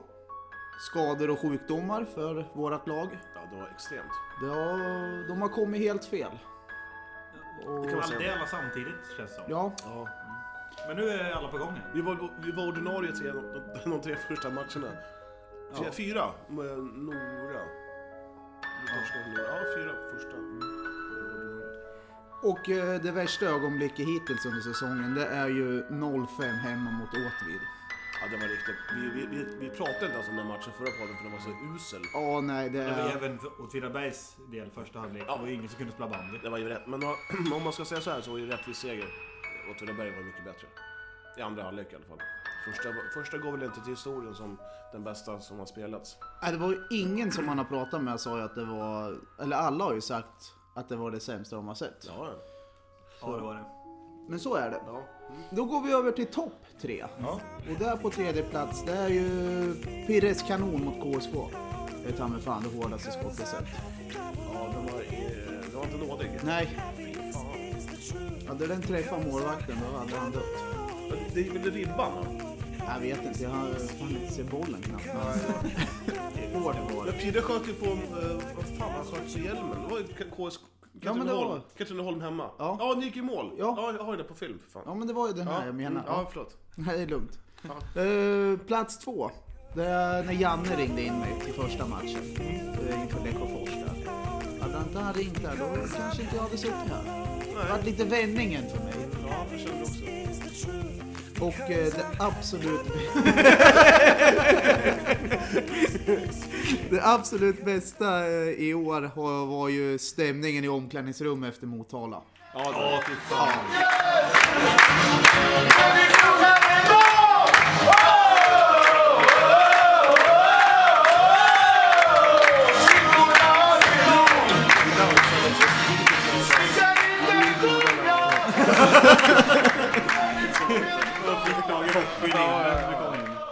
skador och sjukdomar för vårat lag.
Ja, det var extremt.
Ja, de har kommit helt fel.
Det kan man
Allt det
säga.
alla samtidigt känns det som.
Ja,
Ja.
Men nu är alla på gång igen.
Vi var, vi var ordinarie tre, de, de tre första matcherna. Tre,
Ja.
Fyra med Nora. Vi torskade Nora. Ja, fyra första.
och eh, det värsta ögonblicket hittills under säsongen det är ju 0-5 hemma mot Åtvid.
Ja, det var riktigt. Vi, vi, vi, vi pratade inte ens om den matchen förra podden för den var så usel.
Ja, nej det
Det var
är...
även för Åtvidabergs del första halvlek. Det var ju ingen som kunde spela bandy.
Det var ju rätt, men då- <clears throat> om man ska säga så här så var ju rättvis seger. Åtvidaberg var mycket bättre. I andra halvlek i alla fall. Första, första går väl inte till historien som den bästa som har spelats.
Nej, Äh, det var ju ingen som man har pratat med sa ju att det var... Eller alla har ju sagt att det var det sämsta de har sett.
Ja, ja.
Ja, det var det.
Men så är det.
ja.
Då går vi över till topp tre.
Ja.
Och där på tredje plats, det är ju Pirres kanon mot KSK. Det är ta mig fan det hårdaste skottet jag sett.
ja den, var, eh, den var inte nådig.
Nej. Hade den träffat målvakten då hade han dött.
Men Det är väl ribban? va?
Jag vet inte, jag har fan inte sett bollen knappt. <laughs> Hård var
Men
det.
Pirre sköt ju på... Eh, vad fan han sköt på hjälmen? Det var ju KS...
Ja, men det var-
Katrineholm. Katrineholm hemma.
Ja.
ja, den gick i mål.
Ja.
ja, jag har ju det på film för fan.
Ja men det var ju den här jag menade.
Ja, förlåt.
Nej, det är lugnt. Eh, plats två. Det är när Janne ringde in mig till första matchen eh, inför Lesjöfors där. Hade han inte han ringt där då kanske inte jag hade suttit här. Det var lite vändningen för mig.
Ja, jag kände också.
Och eh, det absolut... <laughs> det absolut bästa eh, i år har- var ju stämningen i omklädningsrummet efter Motala.
Ja, ja fy fan.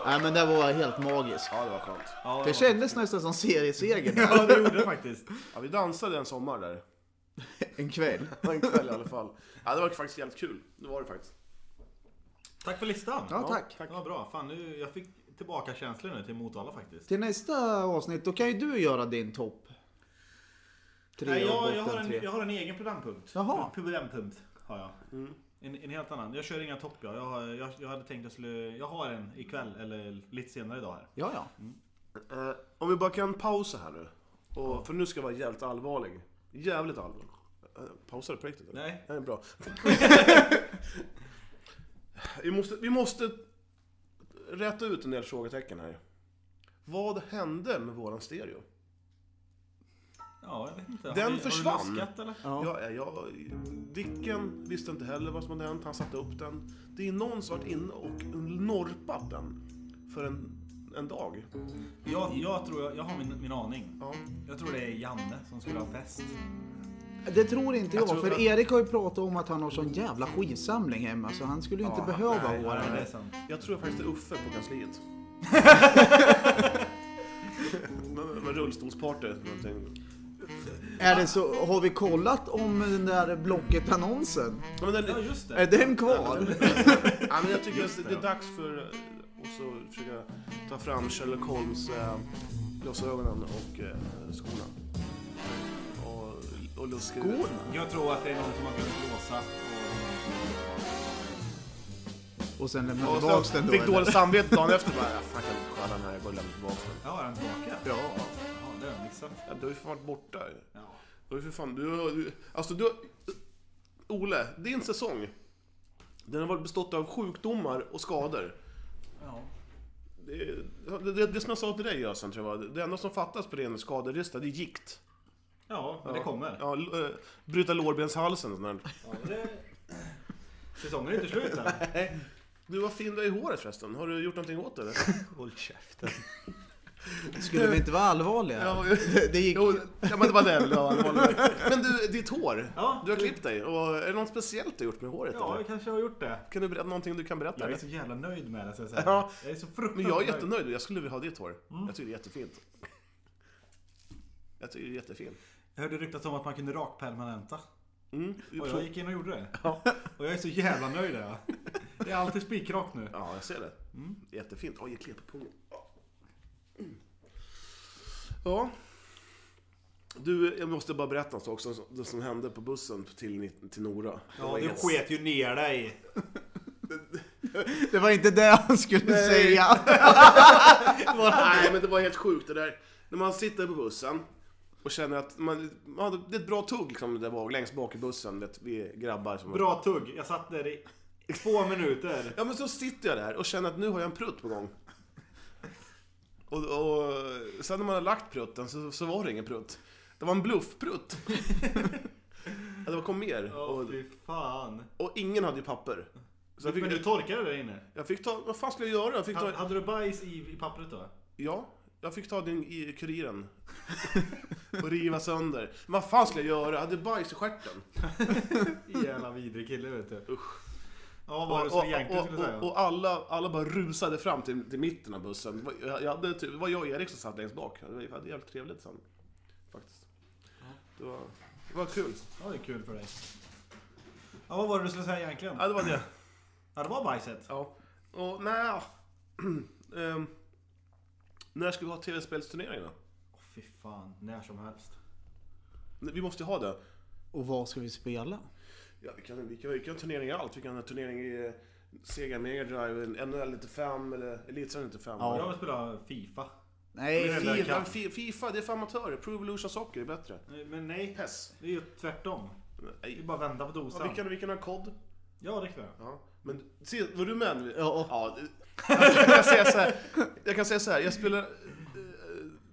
Nej men det var helt magiskt.
Ja, det var skönt.
Ja,
Det kändes nästan som serieseger där,
<laughs> ja, det gjorde det faktiskt.
<laughs>
Ja, vi dansade en sommar där.
en kväll.
Det var <laughs> en kväll i alla fall. Ja, det var faktiskt jävligt kul. Det var det faktiskt.
Tack för listan.
Ja tack.
Det var bra. Fan, nu, jag fick tillbaka känslor nu till Motala faktiskt.
Till nästa avsnitt då kan ju du göra din topp. Tre
Nej,
och
jag,
botten
jag, har en,
tre.
jag har en egen programpunkt.
Jaha.
Programpunkt har jag.
Mm.
En, en helt annan. Jag kör inga topp jag. Jag, har- jag. jag hade tänkt att jag skulle... Jag har en ikväll eller lite senare idag här.
Ja, ja.
Eh, om vi bara kan pausa här nu. Och, För nu ska jag vara jävligt allvarlig. Jävligt allvarlig. Pausar du på riktigt? eller?
Nej.
Det är bra. <laughs> vi, måste, vi måste räta ut en del frågetecken här. Vad hände med våran stereo?
Ja, jag vet inte. Har
Den
vi- har vi
försvann.
luskat, eller?
Ja. Ja, jag, Dicken visste inte heller vad som hade hänt, han satte upp den. Det är någon som varit inne och norpat den för en, en dag.
Jag, jag tror jag, jag har min, min aning.
Ja.
Jag tror det är Janne som skulle ha fest.
Det tror inte jag,
tror-
för Erik har ju pratat om att han har sån jävla skivsamling hemma så han skulle ju inte behöva
nej,
våra.
Ja, det är sant.
Jag tror faktiskt det är Uffe på kansliet. Men- men Rullstolsparty, någonting.
Är det så, har vi kollat om den där Blocket-annonsen?
Ja, men den,
Ja, just det.
Är
<laughs>
den kvar?
Ja, men jag tycker att det är dags för eh, oss att försöka ta fram Sherlock Holmes eh, glasögonen och eh, skorna. Och, och luska ut.
Jag tror att det är någon som har glömt låsa.
Och sen lämnar vi
Och
tillbaks
sen
den då
fick
eller?
dåligt samvete dagen efter. Bara, "Ah, fan, jag kan inte stjäla den här, jag går och lämnar tillbaka den.
Ja, är han tillbaka? Ja,
Ja,
det har jag missat.
ja, du har ju fan varit borta. Du har ju för fan, du, har- du, alltså du har, Ole, din säsong. Den har varit bestått av sjukdomar och skador.
Ja.
Det, det, det, det som jag sa till dig Jösen, tror jag var, det enda som fattas på din skadelista, det är gikt.
Ja, men det kommer.
Ja, l- eh, bryta lårbenshalsen och sånt där.
Ja, men det... Säsongen är inte slut
<laughs>
än.
Du, vad fin du är i håret förresten. Har du gjort någonting åt
<laughs>
det eller?
Håll käften.
Skulle vi inte vara allvarliga?
Ja,
Det, det gick...
Jo, ja, men det var det. det var allvarligt. Men du, ditt hår.
Ja.
Du har klippt dig. Och är det något speciellt du har gjort med håret?
Ja,
eller?
jag kanske har gjort det.
Kan du berätta någonting du kan berätta?
Jag är
eller?
så jävla nöjd med det, så jag säger.
Ja.
Jag är så fruktansvärt
Men jag är
nöjd.
jättenöjd. Jag skulle vilja ha ditt hår. Jag tycker det är jättefint. Jag tycker det är jättefint.
Jag hörde ryktas om att man kunde rakpermanenta.
Mm.
Och jag gick in och gjorde det.
Ja.
Och jag är så jävla nöjd där. Det är alltid spikrakt nu.
Ja, jag ser det. Jättefint. Oj, jag kliar på pungen. Ja. Du, jag måste bara berätta en sak också. Det som hände på bussen till, till Nora.
Ja, du sket ju ner dig.
det var inte det han skulle
<laughs>
säga.
Nej, men det var helt sjukt det där. När man sitter på bussen och känner att man, man hade, det är ett bra tugg liksom det var längst bak i bussen. Vet, vi grabbar som...
Bra tugg. Jag satt där i två minuter.
<laughs> Ja, men så sitter jag där och känner att nu har jag en prutt på gång. Och, och sen när man har lagt prutten så, så var det ingen prutt. Det var en bluffprutt.
<laughs>
ja, det var- kom mer.
Åh
Och,
fy fan.
och ingen hade ju papper. Så jag
Men du
fick,
torkade där inne?
jag fick ta... Vad fan skulle jag göra? Jag fick ta...
Ha- Hade du bajs i, i pappret då?
Ja, jag fick ta den i kuriren. och riva sönder. Men vad fan skulle jag göra? Jag hade bajs i stjärten.
Jävla vidrig kille vet du. Usch. Ja, vad var
Och,
det
och,
som egentligen skulle
och,
säga?
och, och alla, alla bara rusade fram till, till mitten av bussen. Det var- Jag, jag hade, typ, det var jag och Erik som satt längst bak. Det var det hade jävligt trevligt sen. Faktiskt. Det var, det var kul.
Ja, det är kul för dig. Ja, vad var det du skulle säga egentligen?
Ja, det var det.
Ja, det var bajset.
Ja. Och nej. ehm, när ska vi ha tv-spelsturneringarna?
Åh fy fan, när som helst.
Vi måste ju ha det.
Och vad ska vi spela?
Ja, vi kan, vi kan, vi kan ha turneringar i allt. Vi kan ha turnering i eh, Sega Mega Drive, NHL 95 eller Elitserien 95.
Jag vill spela FIFA.
Nej,
Men-
fi-
FIFA, Fi- FIFA, det är för amatörer. Pro Evolution Soccer är bättre.
Nej, Men nej,
PES.
det är ju tvärtom. Det är ju
Nej.
bara att vända på
Ja,
dosan.
vi, kan, vi kan ha kod.
Ja, det kan jag.
Ja. Men se, var du med?
Ja.
det- jag, kan säga så här, jag kan säga så här, jag spelar... eh,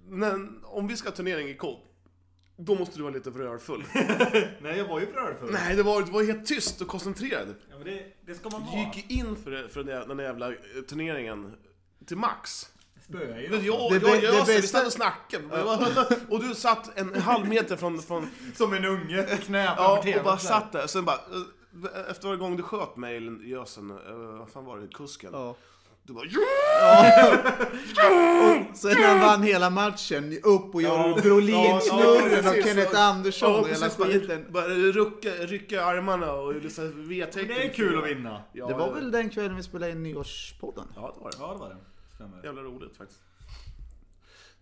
När, om vi ska ha turnering i kod, då måste du vara lite rörfull. <laughs>
Nej, jag var ju bröd förut.
Nej, det var, det var helt tyst och koncentrerad.
Ja, men det, det ska man
Du
vara.
gick in för, det- för den, där- den där jävla eh, turneringen till max.
Spöa ju.
Men jag,
Det
jag,
bä-
jag,
det
jag vi
bästa-
satt och snackade. Och du satt en halv meter från... från
Som en unge. Knä
ja,
framför tvn.
och bara satt där. Sen bara... eh, Efter varje gång du sköt mig, eller gösen, eh, vad fan var det, kusken?
Ja.
Du bara ja!
Sen när han vann hela matchen, upp och gör
Ja, ja,
Brolin-snurren
precis.
och Kenneth Andersson
Ja,
och hela
precis, bara,
skiten.
bara rycka, rycka armarna och liksom V-tecken.
Det är kul att vinna.
Ja,
Det var väl den kvällen vi spelade in nyårspodden?
Ja, det var det.
Ja, det var det. Stämmer.
Jävla roligt faktiskt.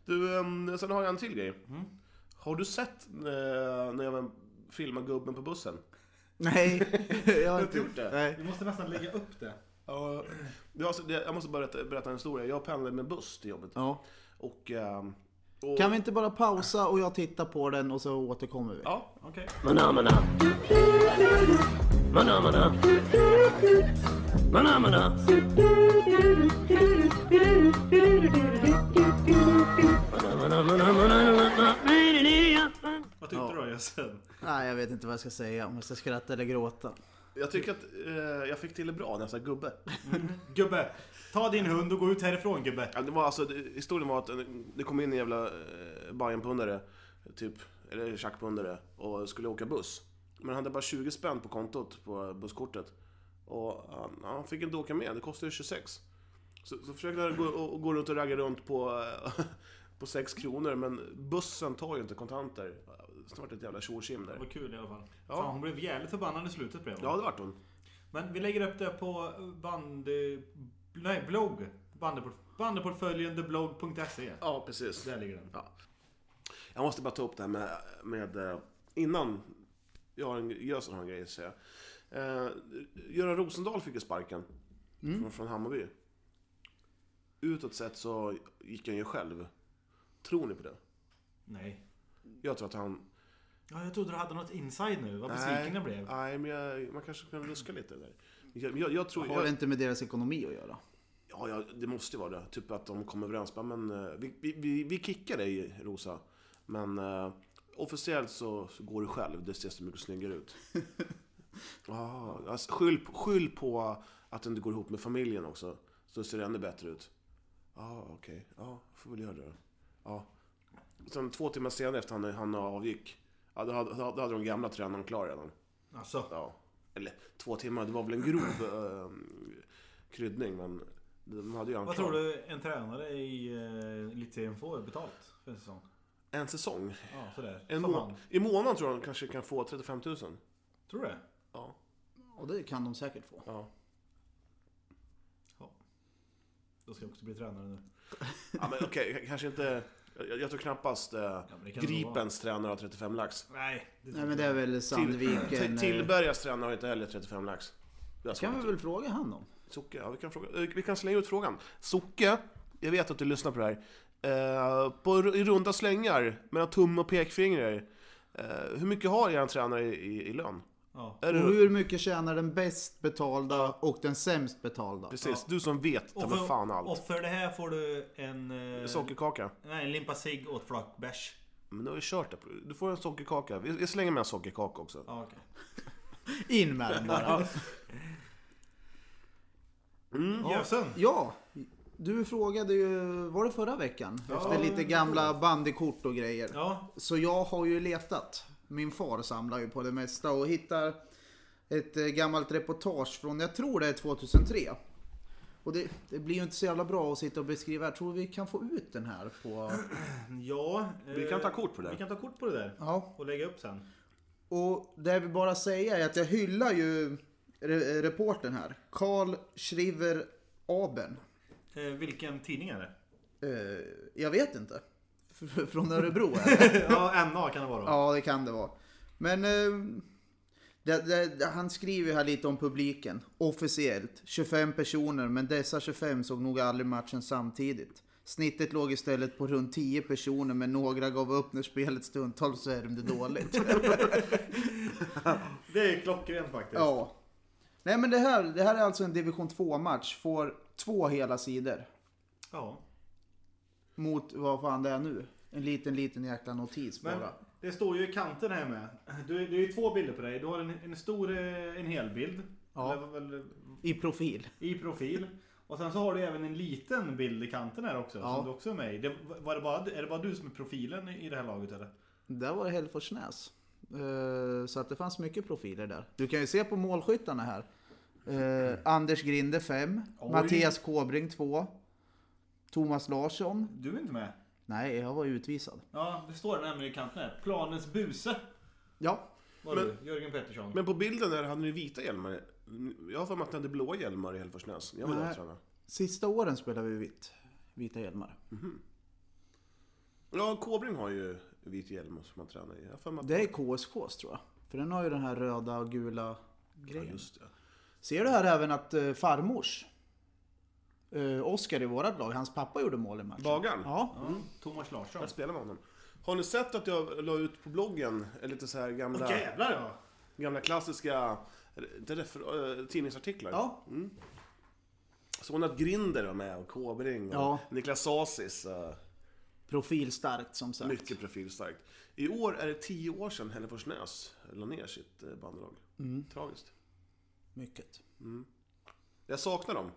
Du, ehm, sen har jag en till grej.
Mm.
Har du sett eh, när jag var- filmade gubben på bussen? <laughs>
Nej, jag har
inte gjort det.
Nej.
Vi måste nästan lägga upp det.
Ja. Jag måste bara berätta, berätta en historia. Jag pendlade med buss till jobbet.
Ja.
Och ehm, Och,
Kan vi inte bara pausa och jag tittar på den och så återkommer vi?
Ja, okej. Vad tyckte du då Jössen?
Nej, jag vet inte vad jag ska säga. Om jag ska skratta eller gråta.
Jag tycker att eh, jag fick till det bra när jag sa gubbe.
Gubbe, ta din hund och gå ut härifrån gubbe.
Ja, det var alltså, det, historien var att en- det kom in en jävla eh, Bajenpundare, typ, eller tjackpundare, och skulle åka buss. Men han hade bara 20 spänn på kontot, på busskortet. Och han, han fick inte åka med, det kostade ju 26. Så, så försökte han gå, och, och gå runt och ragga runt på, eh, <laughs> på 6 kronor, men bussen tar ju inte kontanter. Snart ett jävla tjosim
Det
där.
var kul i alla fall.
Ja.
Fan, hon blev jävligt förbannad i slutet blev hon.
Ja, det vart hon.
Men vi lägger upp det på bandy... Nej, blogg. Bandyport- Bandyportföljendeblogg.se.
Ja, precis.
Där ligger den.
Ja. Jag måste bara ta upp det här med, med eh, innan jag har en, jag har en grej att säga. Eh, Göran Rosendahl fick ju sparken
Mm.
från, från Hammarby. Utåt sett så gick han ju själv. Tror ni på det?
Nej.
Jag tror att han...
Ja, jag trodde du hade något inside nu. Vad besviken jag blev.
Nej, men jag, man kanske kan luska lite där. Jag, jag, jag tror...
Har det
Jag,
inte med deras ekonomi att göra?
ja, ja, det måste ju vara det. Typ att de kommer överens. Bara, Men, eh, vi, vi, vi, vi kickar dig, Rosa. Men eh, officiellt så, så går du själv. Det ser så mycket snyggare ut. Ah, alltså, skyll, på- skyll på att du inte går ihop med familjen också. Så ser det ännu bättre ut. Ja, ah, okej. Ja, får väl göra det då. Ja. Sen två timmar senare efter han, han avgick. Ja, då, hade, då hade de gamla tränaren klar redan.
Alltså,
Ja. Eller två timmar, det var väl en grov eh, kryddning men de hade ju en
vad
klar.
tror du en tränare i eh, Elitserien får betalt för en säsong?
En säsong.
Ja, sådär.
En
Som
må-
han.
I månaden tror jag de kanske kan få 35 000.
Tror du det?
Ja.
Och det kan de säkert få.
Ja.
Ja. Då ska jag också bli tränare nu.
ja men okej, kanske inte... Jag, jag tror knappast eh,
men det kan det
Gripens tränare har 35 lax.
Nej. Det
Nej men det är väl Sandviken.
Till,
eh,
Tillbergas tränare har inte heller 35 lax. Det är
kan
svårt.
vi väl fråga han om?
Socke, ja, vi, kan fråga, eh, vi kan slänga ut frågan. Socke, jag vet att du lyssnar på det här. Eh, på, ru- I runda slängar, mellan tumme och pekfingrar. Eh, hur mycket har er tränare i, i, i lön?
Ja.
Är
Och
det,
hur mycket tjänar den bäst betalda och den sämst betalda?
precis, du som vet ta mig fan allt.
och för det här får du en... Eh,
Sockerkaka.
nej, en limpa cigg och ett flak bärs.
Men nu har vi kört det. Du får en sockerkaka. Vi, vi slänger med en sockerkaka också.
Ja, okej.
In med den bara.
Mm,
Jösen!
Ja, du frågade ju, var det förra veckan? Efter lite gamla bandykort och grejer.
Ja,
Så jag har ju letat. Min far samlar ju på det mesta och hittar ett eh, gammalt reportage från, jag tror det är 2003. Och det, det blir ju inte så jävla bra att sitta och beskriva. Jag tror vi kan få ut den här på...
ja eh,
Vi kan ta kort på det.
Vi kan ta kort på det där.
Ja,
Och lägga upp sen.
Och det jag vill bara säga är att jag hyllar ju re- reportern här. Carl Schriver Aben.
Eh, vilken tidning är
<laughs>
det?
Eh, jag vet inte. F- Från Örebro är det.
ja, NA kan det vara.
Ja, det kan det vara. Men eh, det, det, det- han skriver ju här lite om publiken. Officiellt 25 personer, men dessa 25 såg nog aldrig matchen samtidigt. Snittet låg istället på runt 10 personer, men några gav upp när spelet stundtals värmde dåligt.
Det är klockrent faktiskt.
Ja. Nej men det här, det här är alltså en division 2-match. Får två hela sidor.
Ja.
Mot vad fan det är nu. En liten, liten jäkla notis
Men
bara.
det står ju i kanten här med. Du, det är ju två bilder på dig. Du har en, en stor eh, en helbild.
Ja.
Eller, väl,
I profil.
I profil. Och sen så har du även en liten bild i kanten här också.
Ja.
Som du också är med i. Det, var det bara, är det bara du som är profilen i i det här laget eller?
Där var det Hälleforsnäs. Eh, Så att det fanns mycket profiler där. Du kan ju se på målskyttarna här. Eh, Anders Grinde 5.
Oj.
Mattias Kåbring 2. Thomas Larsson.
Du är inte med?
Nej, jag var utvisad.
Ja, det står nämligen i kanten här. Planens buse.
Ja,
Var
Men-
du, Jörgen Pettersson.
Men på bilden där hade ni vita hjälmar. Jag har för mig att ni hade blå hjälmar i Hälleforsnäs. Jag var där
Nej.
och tränade.
sista åren spelade vi vitt. Vita hjälmar.
Ja, Kåbring har ju vit hjälm som han tränar i. Jag har för mig att...
Det är KSKs tror jag. För den har ju den här röda och gula
Ja,
grejen.
just det.
Ser du här även att eh, farmors eh, Oscar i vårat lag, hans pappa gjorde mål i matchen.
Bagaren?
Ja.
Thomas Larsson.
Jag spelar med honom. Har ni sett att jag la ut på bloggen eh, lite så här gamla,
Jävlar ja!
gamla klassiska inte refer- eh, tidningsartiklar?
Ja.
Såg ni att Grinder var med och Kåbring och
Ja.
Niklas Sasis? eh,
Profilstarkt som sagt.
Mycket profilstarkt. I år är det tio år sedan Hällefors Näs la ner sitt eh, bandelag.
Mm.
Tragiskt.
Mycket.
Jag saknar dem.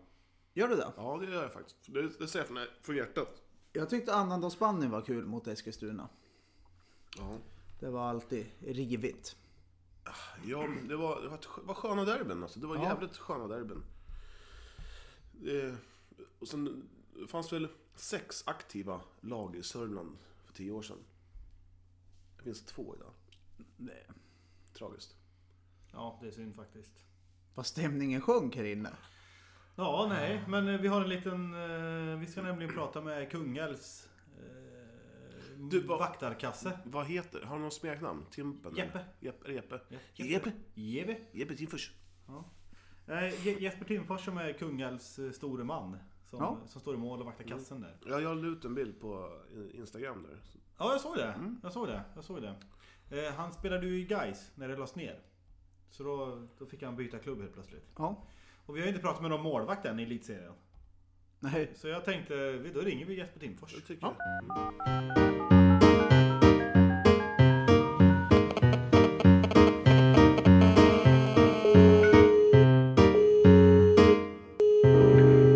Gör du det?
Ja, det gör jag faktiskt. Det, det säger jag från, från hjärtat.
Jag tyckte annandagsbandyn var kul mot Eskilstuna.
Ja.
Det var alltid rivigt.
Ja, men det var, det var, ett, skö- det var sköna derbyn alltså. Det var jävligt sköna derbyn. Eh, och sen det fanns väl sex aktiva lag i Sörmland för tio år sedan. Det finns två idag.
Nej.
Tragiskt.
Ja, det är synd faktiskt.
Vad stämningen sjönk här inne.
Ja, nej, men eh, vi har en liten... Eh, vi ska nämligen prata med Kungälvs eh,
Du, vad-
vaktarkasse.
Vad heter, har du någon smeknamn? Timpen? eller?
Jeppe.
Jeppe. Jeppe.
Jeppe.
Jeppe.
Jeve.
Jeppe Timfors.
Nej, Eh, Je- Jesper Timfors som är Kungälvs eh, store man. Som,
Ja.
som står i mål och vaktar kassen där.
Ja, jag la ut en bild på eh, Instagram där.
Ja, jag såg det. Jag såg det. Jag såg det. Eh, han spelade ju i Gais när det lades ner. Så då, då fick han byta klubb helt plötsligt.
Ja.
Och vi har ju inte pratat med någon målvakt än i elitserien.
Nej.
Så jag tänkte, vi- då ringer vi Jesper Timfors.
Jag tycker ja.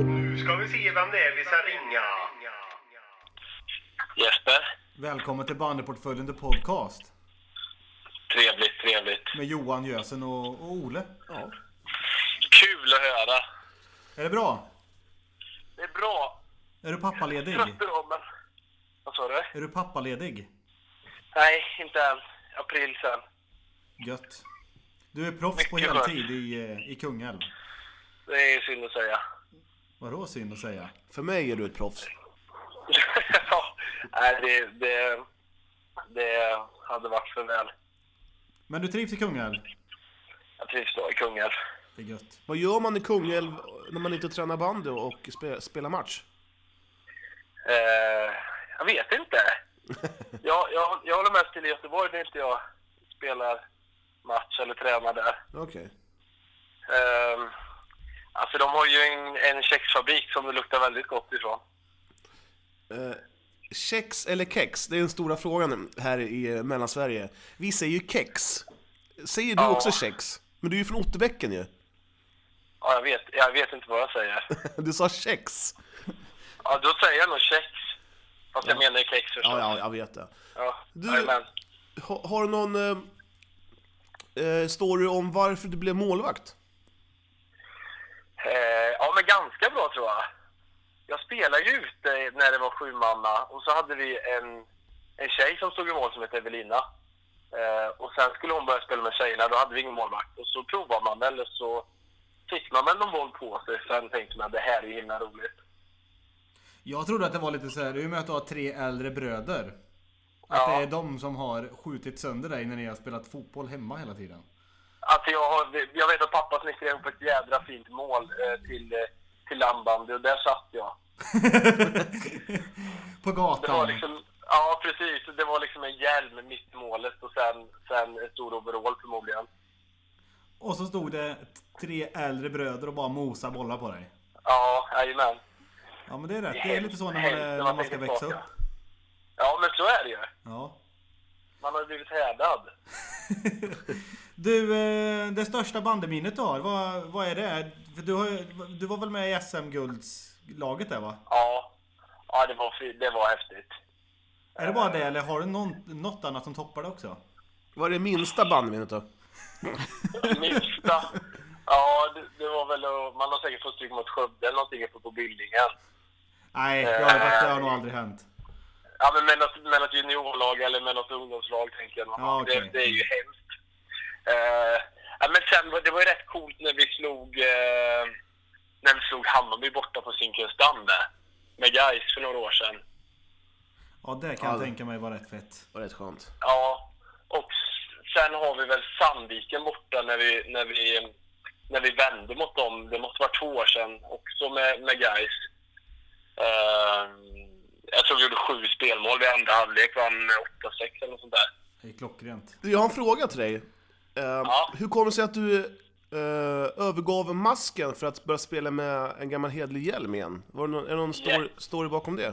Nu ska vi se vem det är vi ska ringa.
Jesper,
Välkommen till Bandyportföljen The Podcast.
trevligt, trevligt.
Med Johan, Gösen och, och Ole. Ja.
Kul att höra.
Är det bra?
Det är bra.
Är du pappaledig?
Trött idag, men... Vad sa du?
Är du pappaledig?
Nej, inte än. April sen.
Gött. Du är proffs på
Mycket
heltid i, eh, i Kungälv.
Det är synd att säga. <laughs>
Vadå synd att säga?
För mig är du ett proffs.
ja, nej, det, det, det hade varit för väl.
Men du trivs i Kungälv?
Jag trivs då i Kungälv.
Det är gött.
Vad gör man i Kungälv när man inte tränar bandy och spe, spelar match?
Eh, jag vet inte. Jag, jag, jag håller mest till i Göteborg när inte jag spelar match eller tränar där.
Okej.
Eh, alltså de har ju en, en kexfabrik som det luktar väldigt gott ifrån.
Eh, Kex eller kex? Det är den stora frågan här i eh, Mellansverige. Vi säger ju kex. Säger du
Ja.
också kex? Men du är ju från Otterbäcken ju. <laughs>
Ja, jag vet, jag vet inte vad jag säger.
Du sa kex.
Ja, då säger jag nog kex. Fast jag menar ju kex förstås.
Ja, ja, jag vet det.
Ja,
Du-
jajamän.
Ha, har du någon eh, eh, story om varför du blev målvakt?
Eh, ja, men ganska bra tror jag. Jag spelade ju ute när det var sju manna och så hade vi en, en tjej som stod i mål som hette Evelina. Eh, och sen skulle hon börja spela med tjejerna, då hade vi ingen målvakt. Och så provade man väl och så fick man väl någon boll på sig. Sen tänkte man det här är ju himla roligt.
Jag trodde att det var lite så här, i och med att du har tre äldre bröder. Att
Ja.
det är de som har skjutit sönder dig när ni har spelat fotboll hemma hela
<laughs>
tiden.
Alltså jag, har, jag vet att pappa snickrade ihop ett jädra fint mål eh, till, eh, till landbandy och där satt jag.
På
Det var
gatan.
liksom, ja precis, det var liksom en hjälm mitt i målet och sen, sen en stor overall förmodligen.
Och så stod det t- tre äldre bröder och bara mosa bollar på dig.
Ja, jajamän.
Ja men det är rätt, det är lite så när man, är, när man ska växa upp.
Ja, men så är det ju.
Ja.
Man har ju blivit härdad.
Du, eh, det största bandeminnet du har, vad, vad är det? För du, har, ju- du var väl med i SM-guldslaget där va?
Ja, ja det, var, fri- det var häftigt.
Är det bara det eller har du någon, något annat som toppar det också?
Vad är det minsta bandyminnet då?
Minsta.
<laughs>
Ja, det, det var väl att- Man har säkert fått stryk mot Skövde eller någonting uppe på Billingen.
Nej, det har, det
Eh.
har nog aldrig hänt.
Ja, men med något, med något juniorlag eller med något ungdomslag tänker jag. nog.
Ja, okej.
det, det är ju hemskt. Eh, ja, men sen, var- det var ju rätt coolt när vi slog, eh, när vi slog Hammarby borta på Zinkensdamm där. Med Gais för några år sedan.
Ja, det kan jag
Aldrig.
tänka mig var rätt fett.
Var rätt skönt.
Ja, och s- sen har vi väl Sandviken borta när vi, när vi, när vi vände mot dem. Det måste vara två år sedan också med, med Gais. Eh, jag tror vi gjorde sju spelmål vid andra halvlek, vann 8-6 eller något sånt där.
Det är klockrent.
Du, Jag har en fråga till dig. Eh,
Ja.
Hur kommer det sig att du eh, övergav masken för att börja spela med en gammal hederlig hjälm igen? Var det någon, är det någon stor,
Ja.
story bakom det?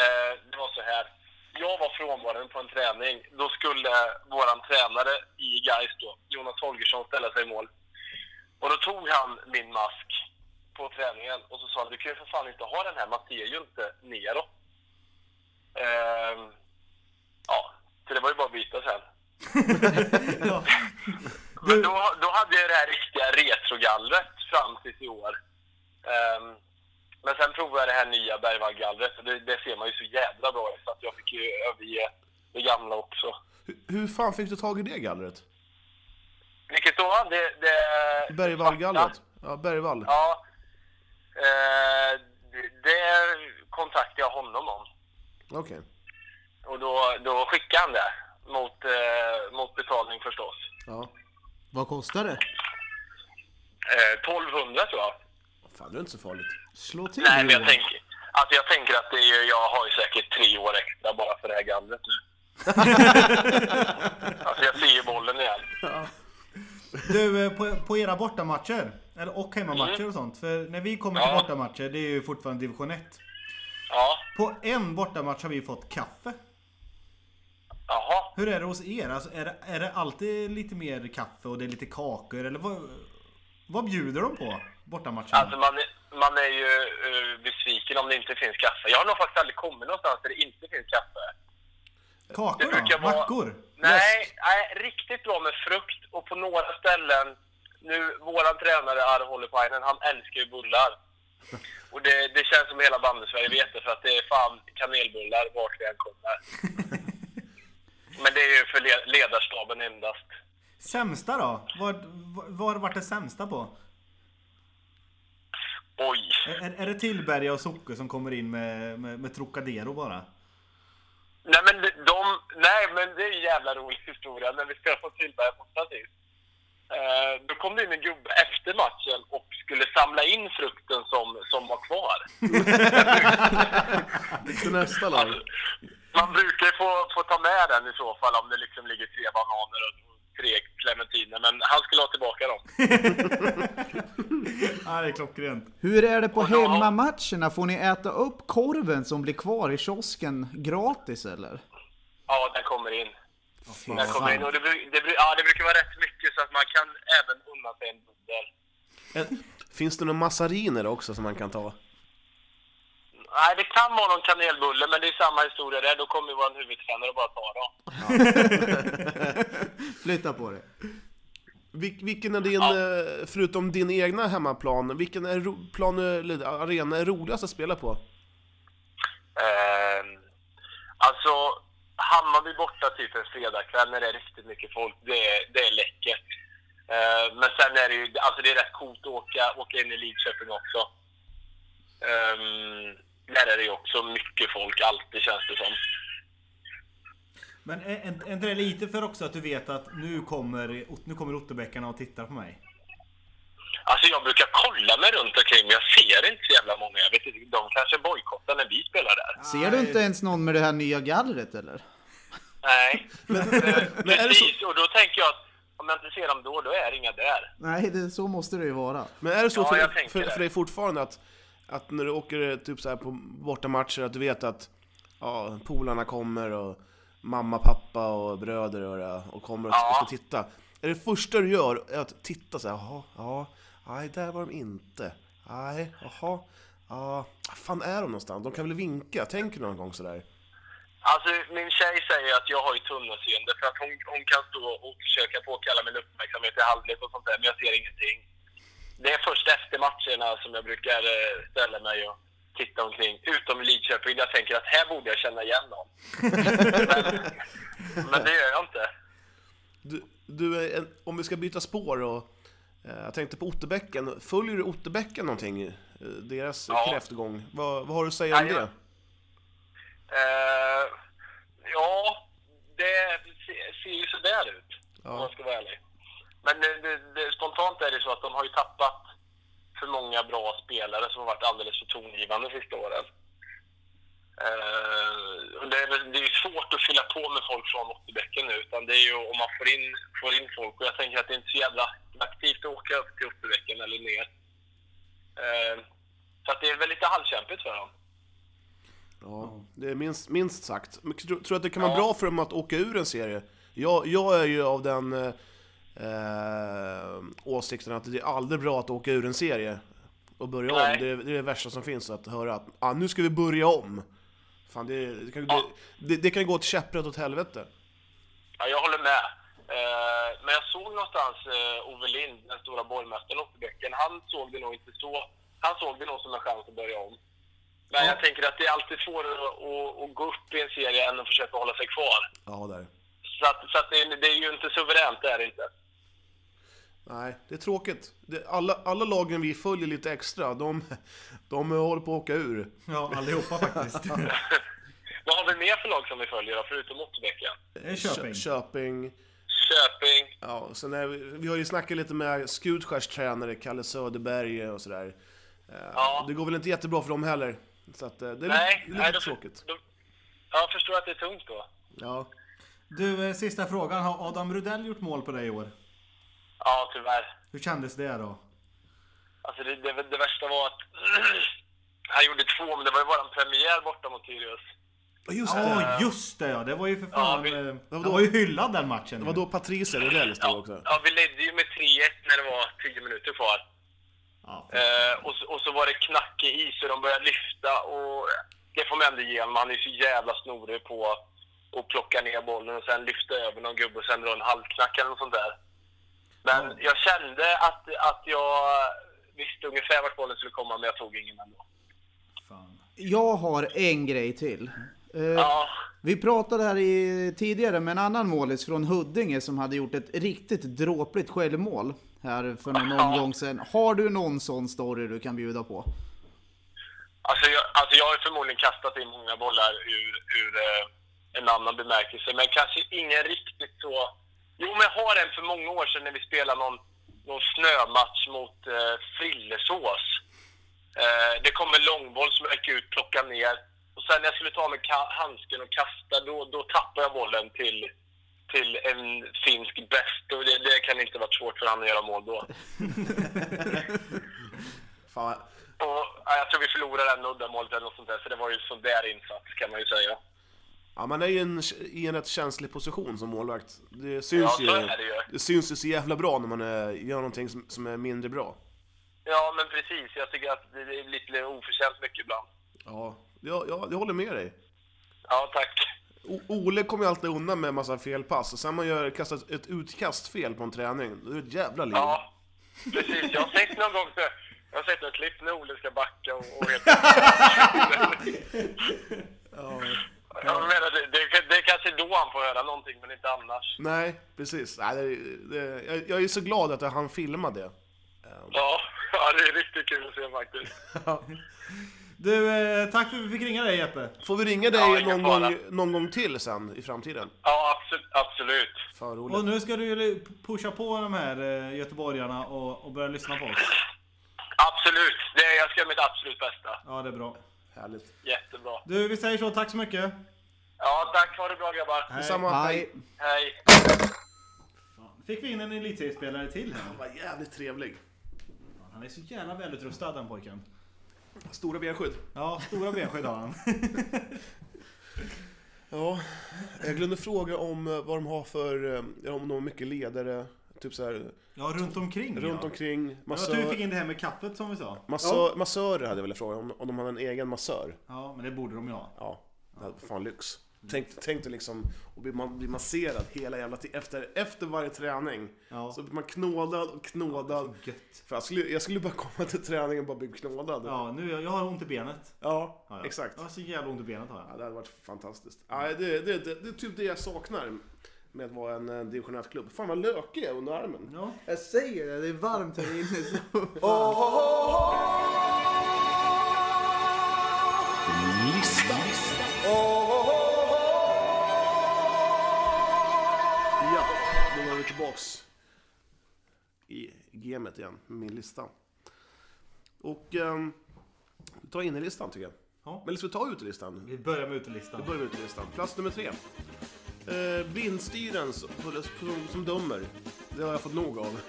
Eh, det var så här. Jag var frånvarande på en träning. Då skulle våran tränare i Gais då, Jonas Holgersson, ställa sig i mål. Och då tog han min mask på träningen och så sa han, du kan ju för fan inte ha den här, man ser ju inte neråt. Ehm, ja, så det var ju bara att byta sen. Men då, då hade jag det här riktiga retrogallret fram tills i år. Ehm, men sen provade jag det här nya Bergvallgallret och det, det ser man ju så jädra bra ut så att jag fick ju överge det gamla också.
Hur, hur fan fick du tag i det gallret?
Vilket då? Det, det,
Bergvallgallret? Ja, Bergvall.
Ja. Eh, det, det kontaktade jag honom om.
Okej.
Och då, då skickade han det. Mot, eh, mot betalning förstås.
Ja.
Vad kostar det?
Eh, 1200 tror jag.
Fan, det är inte så farligt.
Slå till
Nej, men jag
Johan.
tänker, alltså jag tänker att det är, ju- jag har ju säkert tre år extra bara för det här gallret nu. alltså jag ser ju bollen igen.
Du, eh, på, på era bortamatcher, eller och hemmamatcher och sånt. För när vi kommer till
Mm. Ja.
bortamatcher, det är ju fortfarande division 1.
Ja,
På en bortamatch har vi fått kaffe.
jaha.
Hur är det hos er? Alltså, är, det, är det alltid lite mer kaffe och det är lite kakor? Eller vad, vad bjuder de på bortamatcherna?
Alltså man, man är ju eh, besviken om det inte finns kaffe. Jag har nog faktiskt aldrig kommit någonstans där det inte finns kaffe.
kakor
det brukar
då?
vara-
Mackor?
Nej, nej, riktigt bra med frukt och på några ställen. Nu, våran tränare Arve Holopainen, han älskar ju bullar. Och det, det känns som hela bandet Sverige vet det, för att det är fan kanelbullar vart vi än kommer. Men det är ju för le- ledarstaben endast.
Sämsta då? Vad var vart det sämsta på?
Oj!
Är, är- är det Tillberga och Socker som kommer in med, med, med Trocadero bara?
Nej men de, de, nej men det är en jävla rolig historia när vi ska få Tillberga borta sist. Eh, då kom det in en gubbe efter matchen och skulle samla in frukten som, som var kvar.
Till nästa lag.
Alltså, man brukar få, få ta med den i så fall om det liksom ligger tre bananer och tre clementiner, men han skulle ha tillbaka dem.
Ja, det är klockrent.
Hur är det på
Och då-
hemmamatcherna? Får ni äta upp korven som blir kvar i kiosken gratis eller?
Ja, den kommer in. Den kommer in
fan.
och det, bru- det, bru- ja, det brukar vara rätt mycket så att man kan även unna sig en bubbel.
Finns det några massariner också som man kan ta?
Nej, det kan vara någon kanelbulle, men det är samma historia där. Då kommer ju vår huvudtränare och bara ta dem.
Flytta på det.
Vil- vilken är din, eh, förutom din egna hemmaplan, vilken är ro- plan, eller arena är roligast att spela på?
Eh, alltså, Hammarby borta typ en fredagkväll när det är riktigt mycket folk, det är, det är läckert. Eh, men sen är det ju, alltså det är rätt coolt att åka, åka in i Lidköping också. Eh, där är det ju också mycket folk, alltid känns det som.
Men är, är är inte det lite för också att du vet att nu kommer, nu kommer Otterbäckarna och tittar på mig?
Alltså jag brukar kolla mig runt omkring, men jag ser inte så jävla många. Jag vet inte, de kanske bojkottar när vi spelar där.
Ser du inte ens någon med det här nya gallret eller?
Nej, Eh,
<laughs> men är det så-
precis. Och då tänker jag att om jag inte ser dem då, då är det inga där.
Nej, det, så måste det ju vara.
Men är det så
Ja, jag
för,
tänker
för,
det.
för dig fortfarande att, att när du åker eh, typ så här på bortamatcher, att du vet att ja, polarna kommer och mamma, pappa och bröder och, det, och kommer och
Ja.
ska titta. Är det första du gör är att titta så här, jaha, ja, nej, där var de inte. Nej, jaha, ja, var fan är de någonstans? De kan väl vinka? Tänker du någon gång sådär?
Alltså min tjej säger att jag har ju tunnelseende för att hon, hon kan stå och försöka påkalla min uppmärksamhet i halvlek och sånt där, men jag ser ingenting. Det är först efter matcherna som jag brukar eh, ställa mig och titta omkring, utom i Lidköping där jag tänker att här borde jag känna igen någon. men, men det gör jag inte.
Du, du är en, om vi ska byta spår och eh, jag tänkte på Otterbäcken. Följer du Otterbäcken någonting? Eh, Deras
Ja.
kräftgång. Vad, vad har du att säga om
Nej, jag-
det?
Eh, ja, det se- ser ju sådär ut om
Ja.
man ska vara ärlig. Men det, det, det, spontant är det så att de har ju tappat för många bra spelare. spelare som har varit alldeles för tongivande sista åren. Eh, och det, är, väl- det är ju svårt att fylla på med folk från Otterbäcken nu, utan det är ju om man får in, får in folk. Och jag tänker att det är inte så jävla aktivt att åka upp till Otterbäcken eller ner. Eh, så att det är väl lite halvkämpigt för dem.
Ja, det är minst, minst sagt. Men tror tror du att det kan vara bra för dem att åka ur en serie? Jag, jag är ju av den eh, eh, åsikten att det är aldrig bra att åka ur en serie och börja
Nej.
om. Det är, det är det värsta som finns, att höra att ah, nu ska vi börja om. Fan, det, det, kan,
Ja.
det, det, det kan ju gå ett käpprätt åt helvete.
Ja, jag håller med. Eh, men jag såg någonstans eh, Ove Lind, den stora borgmästaren uppe i bäcken. Han såg det nog inte så. Han såg det nog som en chans att börja om. Men jag tänker att det är alltid svårare att, att, att gå upp i en serie än att försöka hålla sig kvar.
Ja, där.
Så, att, så att det, är- det är ju inte suveränt, det är det inte.
Nej, det är tråkigt. Det, alla, alla lagen vi följer lite extra, de, de håller på att åka ur.
Ja, allihopa faktiskt.
Vad har vi mer för lag som vi följer då, förutom Otterbäcken?
<laughs> Det är Köping.
Kö- Köping.
Köping.
Ja, sen är vi, vi har ju snackat lite med Skutskärs tränare, Kalle Söderberg och sådär. Eh,
Ja.
Det går väl inte jättebra för dem heller. Så att, eh, det är
Nej,
lite, det är
då-
lite tråkigt.
Då, ja, jag förstår att det är tungt då.
Ja.
Du, eh, sista frågan. Har Adam Rudell gjort mål på dig i år?
Ja, tyvärr.
Hur kändes det då?
Alltså det, det, det värsta var att <clears throat> han gjorde två, men det var ju bara en premiär borta mot Sirius.
Och just
Ja,
det!
just det ja. Det var ju för fan...
vi-
eh,
Vadå?
Han var ju hyllad den matchen.
Det var då Patricia Rudell stod också.
Ja, vi ledde ju med 3-1 när det var 10 minuter kvar.
Ja,
Eh, och, så, och så var det knackig is och de började lyfta och det får man ändå ge honom. Han är ju så jävla snorig på att plocka ner bollen och sen lyfta över någon gubbe och sen dra en halvknack eller något sånt där. Men jag kände att, att jag visste ungefär vart bollen skulle komma, men jag tog ingen ändå.
fan.
Jag har en grej till. Eh,
Ja,
Vi pratade här i, tidigare med en annan målis från Huddinge som hade gjort ett riktigt dråpligt självmål här för någon omgång sedan. Har du någon sån story du kan bjuda på?
Alltså jag, alltså jag har ju förmodligen kastat in många bollar ur, ur eh, en annan bemärkelse, men kanske ingen riktigt så... Jo, men jag har en för många år sedan när vi spelade någon, någon snömatch mot eh, Frillesås. Eh, det kom en långboll som jag gick ut, plockade ner. Och sen när jag skulle ta med ka- handsken och kasta, då, då tappade jag bollen till, till en finsk bäst. Och det, det kan inte varit svårt för han att göra mål då.
Fan.
Och, ja, jag tror vi förlorade en uddamålet eller något sånt där, så det var ju en sån där insats kan man ju säga.
Ja, man är ju en, i en rätt känslig position som målvakt. Det syns,
så
ju,
är det ju.
syns ju så jävla bra när man eh, gör någonting som, som är mindre bra.
Ja, men precis. Jag tycker att det är lite oförtjänt mycket ibland.
Ja, jag, jag, jag håller med dig.
Ja, tack.
O- Ole kommer ju alltid undan med en massa felpass, och sen man gör, kastar ett- ett utkast fel på en träning, då är det ett jävla liv.
Ja, precis. Jag har sett någon gång så, jag har sett en klipp när Olle ska backa och... <laughs> och helt... Jag menar, det, det, det är kanske då han får höra någonting, men inte annars.
Nej, precis. Nej, det, det, jag, jag är så glad att han filmade det.
Ja, ja, det är riktigt kul att se faktiskt.
Du, eh, tack för att vi fick ringa dig Jeppe.
Får vi ringa dig
Ja, ingen
någon,
fara.
gång, någon gång till sen i framtiden?
Ja, absolut. absolut.
Fan roligt.
Och nu ska du ju pusha på de här eh, göteborgarna och, och börja lyssna på oss.
Absolut. Det, jag ska göra mitt absolut bästa.
Ja, det är bra.
Härligt.
Jättebra.
Du, vi säger så. Tack så mycket.
Ja, tack. Ha det bra grabbar.
Detsamma.
Hej!
Hej.
Fick vi in en elitseriespelare till här.
Vad jävligt trevlig.
Han är så jävla välutrustad den pojken.
Stora benskydd.
Ja, stora benskydd har han.
Ja, jag glömde fråga om eh, vad de har för, eh, om de har mycket ledare, typ så här
<laughs> Ja, runt omkring.
runt
ja.
omkring,
Jag tror vi fick
massör,
in det här med kaffet som vi sa.
massör, massörer hade jag velat fråga om, om de hade en egen massör.
Ja, men det borde de ju ha.
Ja, det hade varit fan lyx. Tänk, tänk dig liksom att bli, man, bli masserad hela jävla tiden. Efter, efter varje träning
Ja.
så blir man knådad och knådad.
Gött.
För jag, skulle, jag skulle bara komma till träningen och bara bli knådad.
Ja, nu, jag har ont i benet.
Ja,
Ja, ja.
exakt.
Jag har
Ja.
så jävla ont i benet har jag.
det hade varit fantastiskt. Ja, det, det, det, det är typ det jag saknar med att vara en eh, division 1-klubb. Fan vad lökig jag är under armen.
Ja.
Jag säger det, det är varmt här inne. Så.
Ja, då var vi tillbaks i gamet igen med min lista. Och ehm, ta innerlistan tycker jag.
Ja.
Men ska vi ta utelistan?
Vi börjar med
Vi
utelistan.
börjar med utelistan. Plats nummer tre. Eh, blindstyren som, som, som dömer. Det har jag fått nog av.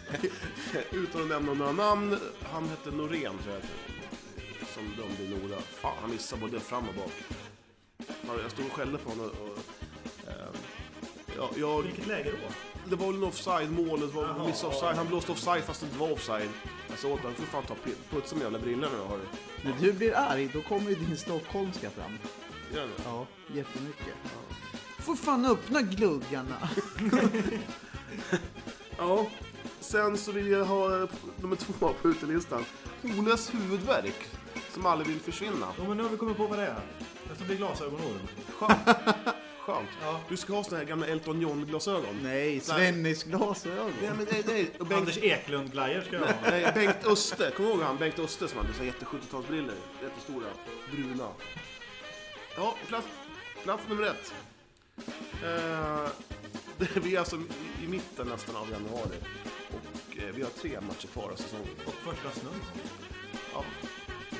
<laughs> Utan att nämna några namn. Han hette Norén tror jag. att- Som dömde Nora. Fan, han missade både fram och bak. Ja, Jag stod och skällde på honom. Och, ehm, ja, jag,
Vilket läge då?
det var väl en offside-mål, det var
Jaha.
miss offside. Han blåste offside fast det inte var offside. Jag sa åt honom, du får fan ta pi- putsa med jävla brillorna du har.
<laughs> När du blir arg, då kommer ju din stockholmska fram.
Gör han det?
Ja, jättemycket. Får fan öppna gluggarna.
Ja. Sen så vill jag ha eh, nummer två på utelistan. Oles huvudvärk. Som aldrig vill försvinna.
Ja, men nu har vi kommit på vad det är. Jag ska bli glasögonorm.
Skönt. Skönt.
Ja.
Du ska ha såna här gamla Elton John-glasögon.
Nej, Svennis glasögon.
Nej, men nej, nej. Och Bengt,
Anders Eklund-glajjor ska jag ha.
nej, Bengt Öste. Kommer du ihåg han? Bengt Öste som hade så här jätte 70-talsbrillor. Jättestora. Bruna. Ja, plats, plats nummer ett. Eh, <laughs> det, vi är alltså i- i mitten nästan av januari. Och eh, vi har tre matcher kvar av säsongen.
Och <laughs> första snön
Ja.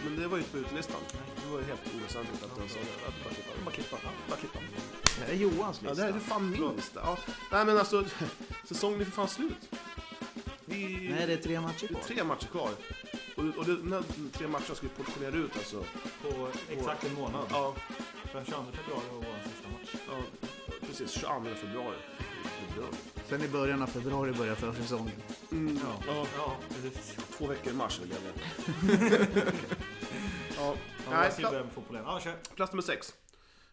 Men det var ju inte på utelistan. Det var ju helt oväsentligt att den sa det. Att Bara klippa. Bara klippa. Bara klippa.
Det här är Johans
Ja,
lista.
det här är för fan min lista. Ja. Nej men alltså, <laughs> säsongen är för fan slut. Vi...
Nej, det är tre matcher
det är
kvar.
tre matcher kvar. Och, och det, den här tre matcherna ska vi portionera ut alltså.
på exakt en månad.
Ja,
Från 22 februari var vår sista match.
ja precis. 22 februari. Det är bra.
Sen i början av februari börjar försäsongen.
Ja,
Ja, precis.
två veckor i mars vill <laughs> jag med. ja.
Ja,
Nej,
jag ser börja med fotbollen. Ja, kör.
Plats nummer sex.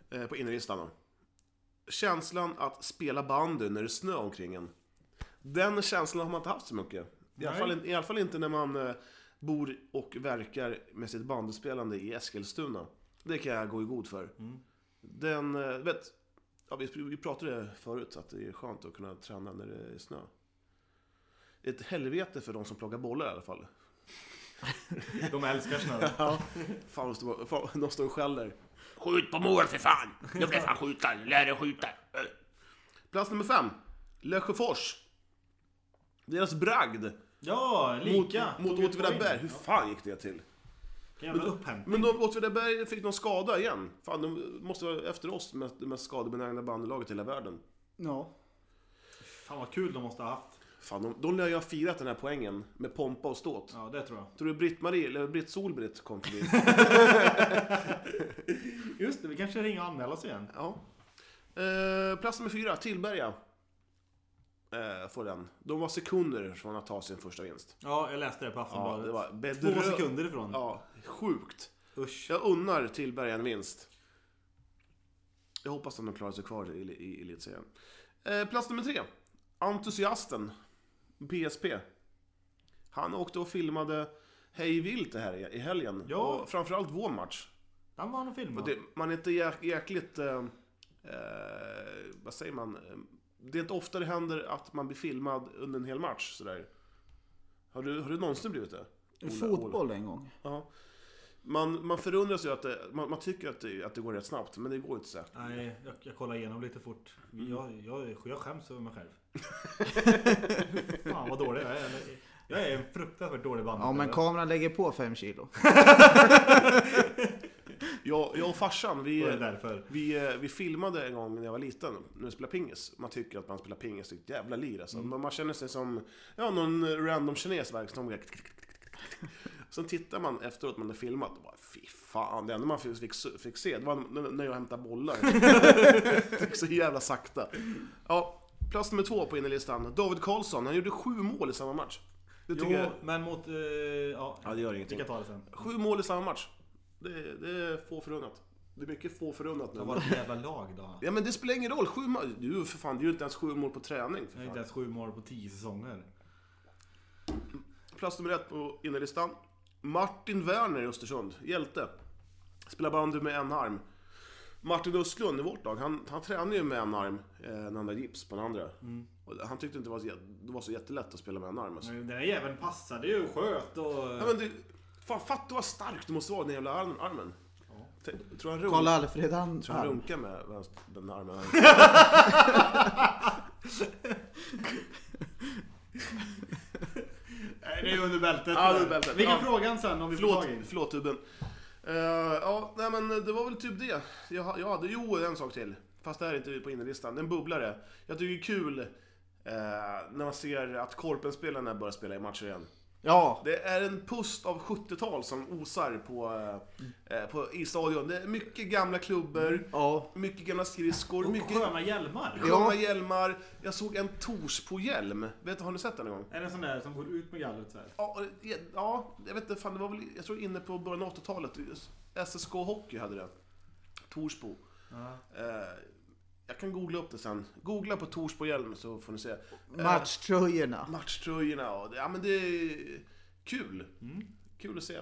Eh, på innerlistan då. Känslan att spela bandy när det är snö omkring en. Den känslan har man inte haft så mycket. I alla,
Nej.
fall, in- I alla fall inte när man eh, bor och verkar med sitt bandyspelande i Eskilstuna. Det kan jag gå i god för. Den, eh, vet, ja, vi, vi pratade förut att det är skönt att kunna träna när det är snö. Ett helvete för de som plockar bollar i alla fall.
De älskar snön.
Ja. Fan, de står, fan, de står och skäller. Skjut på mål för fan! Nu blir fan skjuta, lär dig skjuta. Plats nummer fem. Lesjöfors. Deras bragd
Ja,
mot,
lika.
mot
Tog ett
Åtvidaberg.
poäng.
Hur fan gick det till?
Jävla upphämtning.
Men de, Åtvidaberg fick någon skada igen. Fan, de måste vara efter oss med det mest skadebenägna bandylaget i hela världen.
Ja.
Fan vad kul de måste ha haft.
Fan, de, de lär ju ha firat den här poängen med pompa och ståt.
Ja, det tror jag.
Tror du Britt-Marie, eller Britt Solbritt kom förbi?
Just det, vi kanske ringer och anmäler oss igen.
Ja. Eh, plats nummer fyra, Tillberga. Eh, får den. De var sekunder från att ta sin första vinst.
Ja, jag läste det på
Ja,
Aftonbladet.
det var bedrö-
Två sekunder ifrån.
Ja, sjukt.
Usch.
Jag unnar Tillberga en vinst. Jag hoppas att de klarar sig kvar i, i, i elitserien. Eh, plats nummer tre. Entusiasten. PSP. Han åkte och filmade Hej vilt det här i i helgen.
Ja.
Och framförallt vår match.
Den var nog filmad.
Och det, man är inte jäk, jäkligt... Eh, eh, vad säger man? Det är inte ofta det händer att man blir filmad under en hel match sådär. Har du, har du någonsin blivit det? Ola- Ola?
Fotboll en gång.
Ja. Man, man förundras ju att det, man, man tycker att det, att det går rätt snabbt, men det går inte så här.
Nej, jag, jag kollar igenom lite fort.
Mm.
Jag, jag, jag skäms över mig själv. Fan vad dålig jag är. Jag är en fruktansvärt dålig bandyspelare.
Ja, men kameran lägger på fem kilo.
Jag, jag och farsan, vi,
Det är därför.
vi, eh, vi filmade en gång när jag var liten, när vi spelade pingis. Man tycker att man spelar pingis, det är ett jävla lir alltså. Men man känner sig som ja, någon random kines verksamhet. <laughs> Sen tittar man efteråt, man är filmat, och bara fy fan. Det enda man fick, fick, fick se, det var n- när jag hämtade <laughs> bollar. Det gick så jävla sakta. Ja, plats nummer två på innerlistan. David Karlsson, han gjorde sju mål i samma match. Det tycker
Jo,
jag,
men mot... eh, ja,
ja, det gör
vi
ingenting.
kan ta det sen.
Sju mål i samma match. Det, det är få förunnat. Det är mycket få förunnat
Det
nu.
var ett jävla lag då.
Ja men det spelar ingen roll, sju mål. Du för fan, du gör inte ens sju mål på träning.
Jag har
För
inte
fan.
ens sju mål på tio säsonger.
Plats nummer ett på innerlistan. Martin Werner i Östersund, hjälte. Spelar bandy med en arm. Martin Östlund i vårt lag, han, han tränar ju med en arm, eh, när han har gips på den andra. Och han tyckte inte det var, så jä- det var så jättelätt att spela med en arm. Alltså.
Den här jäveln passade ju och sköt och...
Ja, men det, fan, fatta vad stark du måste vara i den jävla armen. armen. Tänk- Tror han runkar,
Karl-Alfred han...
tror han
han-
runkar med vänster- den armen?
Nej, det är under bältet.
Ja, under bältet.
Vi kan
Ja.
fråga han sen om vi får
Förlåt,
tag i den.
förlåt tuben. Eh, ja, nej men det var väl typ det. Jag, ha- jag hade, jo en sak till. Fast det här är inte på innerlistan. Den bubblare. Jag tycker det är kul eh, när man ser att Korpenspelarna börjar spela i matcher igen.
Ja,
Det är en pust av 70-tal som osar på, eh, eh, på, i stadion. Det är mycket gamla klubbor,
ja.
mycket gamla skridskor, mycket
Mm, Sköna hjälmar.
sköna hjälmar. Jag såg en Torsbo-hjälm. Vet du, har ni sett den någon gång?
Är det en sån där som går ut med gallret så här?
Ja, och det- ja, jag vet inte, fan det var väl, jag tror inne på början av 80-talet. SSK Hockey hade det. Torsbo. Eh, jag kan googla upp det sen. Googla på Torsbo-hjälm så får ni se. Eh,
Matchtröjorna.
matchtröjorna och, det- ja men det är kul. Kul att se.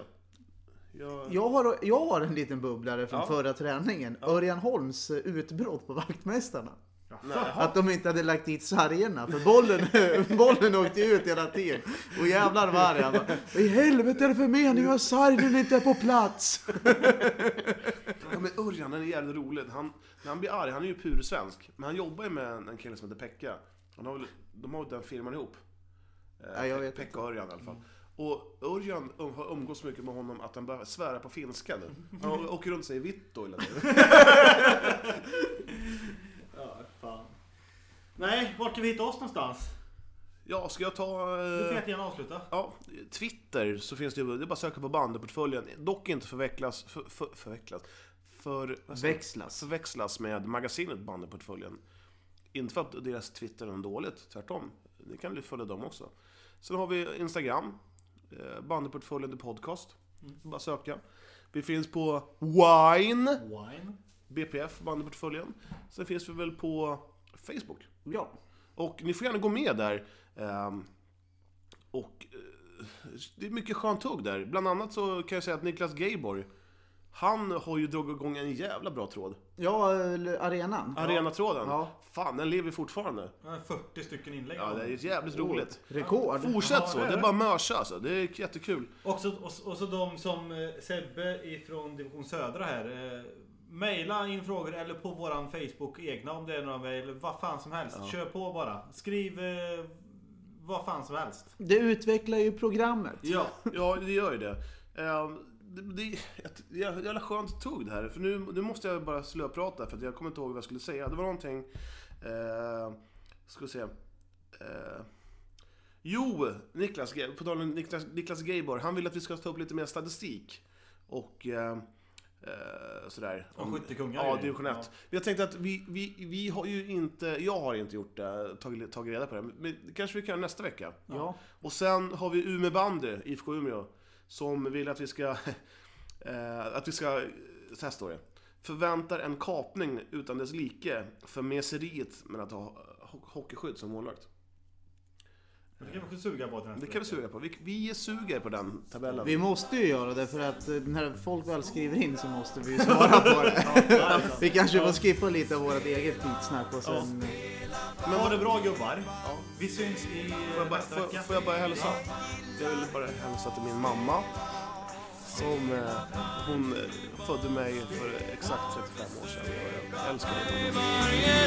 Jag,
Jag har, jag har en liten bubblare från
Ja.
förra träningen. Örjan Holms utbrott på vaktmästarna.
nej.
Att de inte hade lagt dit sargerna för bollen, bollen <laughs> åkte ut hela tiden. Och jävlar vad arg han var. Vad i helvete är det för mening att sargen inte är på plats?
Ja, men Örjan han är jävligt rolig. Han, när han blir arg, han är ju pur svensk. Men han jobbar ju med en, en kille som heter Pekka. Han har väl, de har ju den firman ihop. Eh,
Ja, jag vet
Pekka och Örjan i alla fall. Och Örjan um, har umgås så mycket med honom att han börjar svära på finska nu. Han å- åker runt och säger vitto hela tiden.
Ja, fan. Nej, vart kan vi hitta oss någonstans?
Ja, ska jag ta...
Du får
Eh,
jättegärna avsluta.
ja, Twitter så finns det ju, det är bara att söka på bandyportföljen. Dock inte förvecklas, för, för, förvecklas. För, vad säger jag?
Växlas.
förväxlas med magasinet Bandyportföljen. Inte för att deras Twitter är dåligt, tvärtom. Ni kan ju följa dem också. Sen har vi Instagram, eh, Bandyportföljen The Podcast. Bara söka. Vi finns på Wine,
Wine.
BPF, Bandyportföljen. Sen finns vi väl på Facebook.
Ja.
Och ni får gärna gå med där. Ehm, och eh, det är mycket skönt tugg där. Bland annat så kan jag säga att Niklas Gayborg, han har ju dragit igång en jävla bra tråd.
Ja, eller arenan.
Arenatråden?
Ja.
Fan, den lever fortfarande.
Jag har 40 stycken inlägg.
Ja, det är jävligt roligt.
Rekord.
Fortsätt
Ja,
så,
det
det
är
är
det.
bara mörsa alltså. Det är jättekul.
Och så, och, så- och så de som eh, Sebbe ifrån Division Södra här. Eh, Maila in frågor eller på våran Facebook egna om det är några mejl. Vad fan som helst. Kör på bara. Skriv eh, vad fan som helst.
Det utvecklar ju programmet.
Ja, ja det gör ju det. Ehm, Det, det är ett jä- jävla skönt tugg det här. För nu, nu måste jag bara slöprata för att jag kommer inte ihåg vad jag skulle säga. Det var någonting... Eh, ska vi se. Eh, jo, Niklas, Ge- på tal om Niklas, Niklas Gayborg. Han vill att vi ska ta upp lite mer statistik. Och... Eh, eh, sådär.
Om skyttekungar
Ja,
är det.
division 1. Jag tänkte att vi, vi, vi har ju inte, jag har inte gjort det, tagit, tagit reda på det. Men det kanske vi kan göra nästa vecka.
Ja.
Och sen har vi Umeå Bandy, IFK Umeå, som vill att vi ska... <laughs> Eh, att vi ska... Så här står det. Förväntar en kapning utan dess like för meseriet med att ha ho- hockeyskydd som målvakt.
Men Det kan vi suga på till nästa
Det kan vi
vecka.
suga på. Vi, vi suger på den tabellen.
Vi måste ju göra det för att eh, när folk väl skriver in så måste vi ju svara på det. Vi kanske får skippa lite av vårt eget skitsnack och sen...
Men ha det bra gubbar. Vi syns i
Får jag bara,
nästa
får,
vecka.
får jag bara hälsa?
Ja.
Jag vill bara hälsa till min mamma. Som eh, hon eh, födde mig för exakt 35 år sedan. Och Jag älskar henne.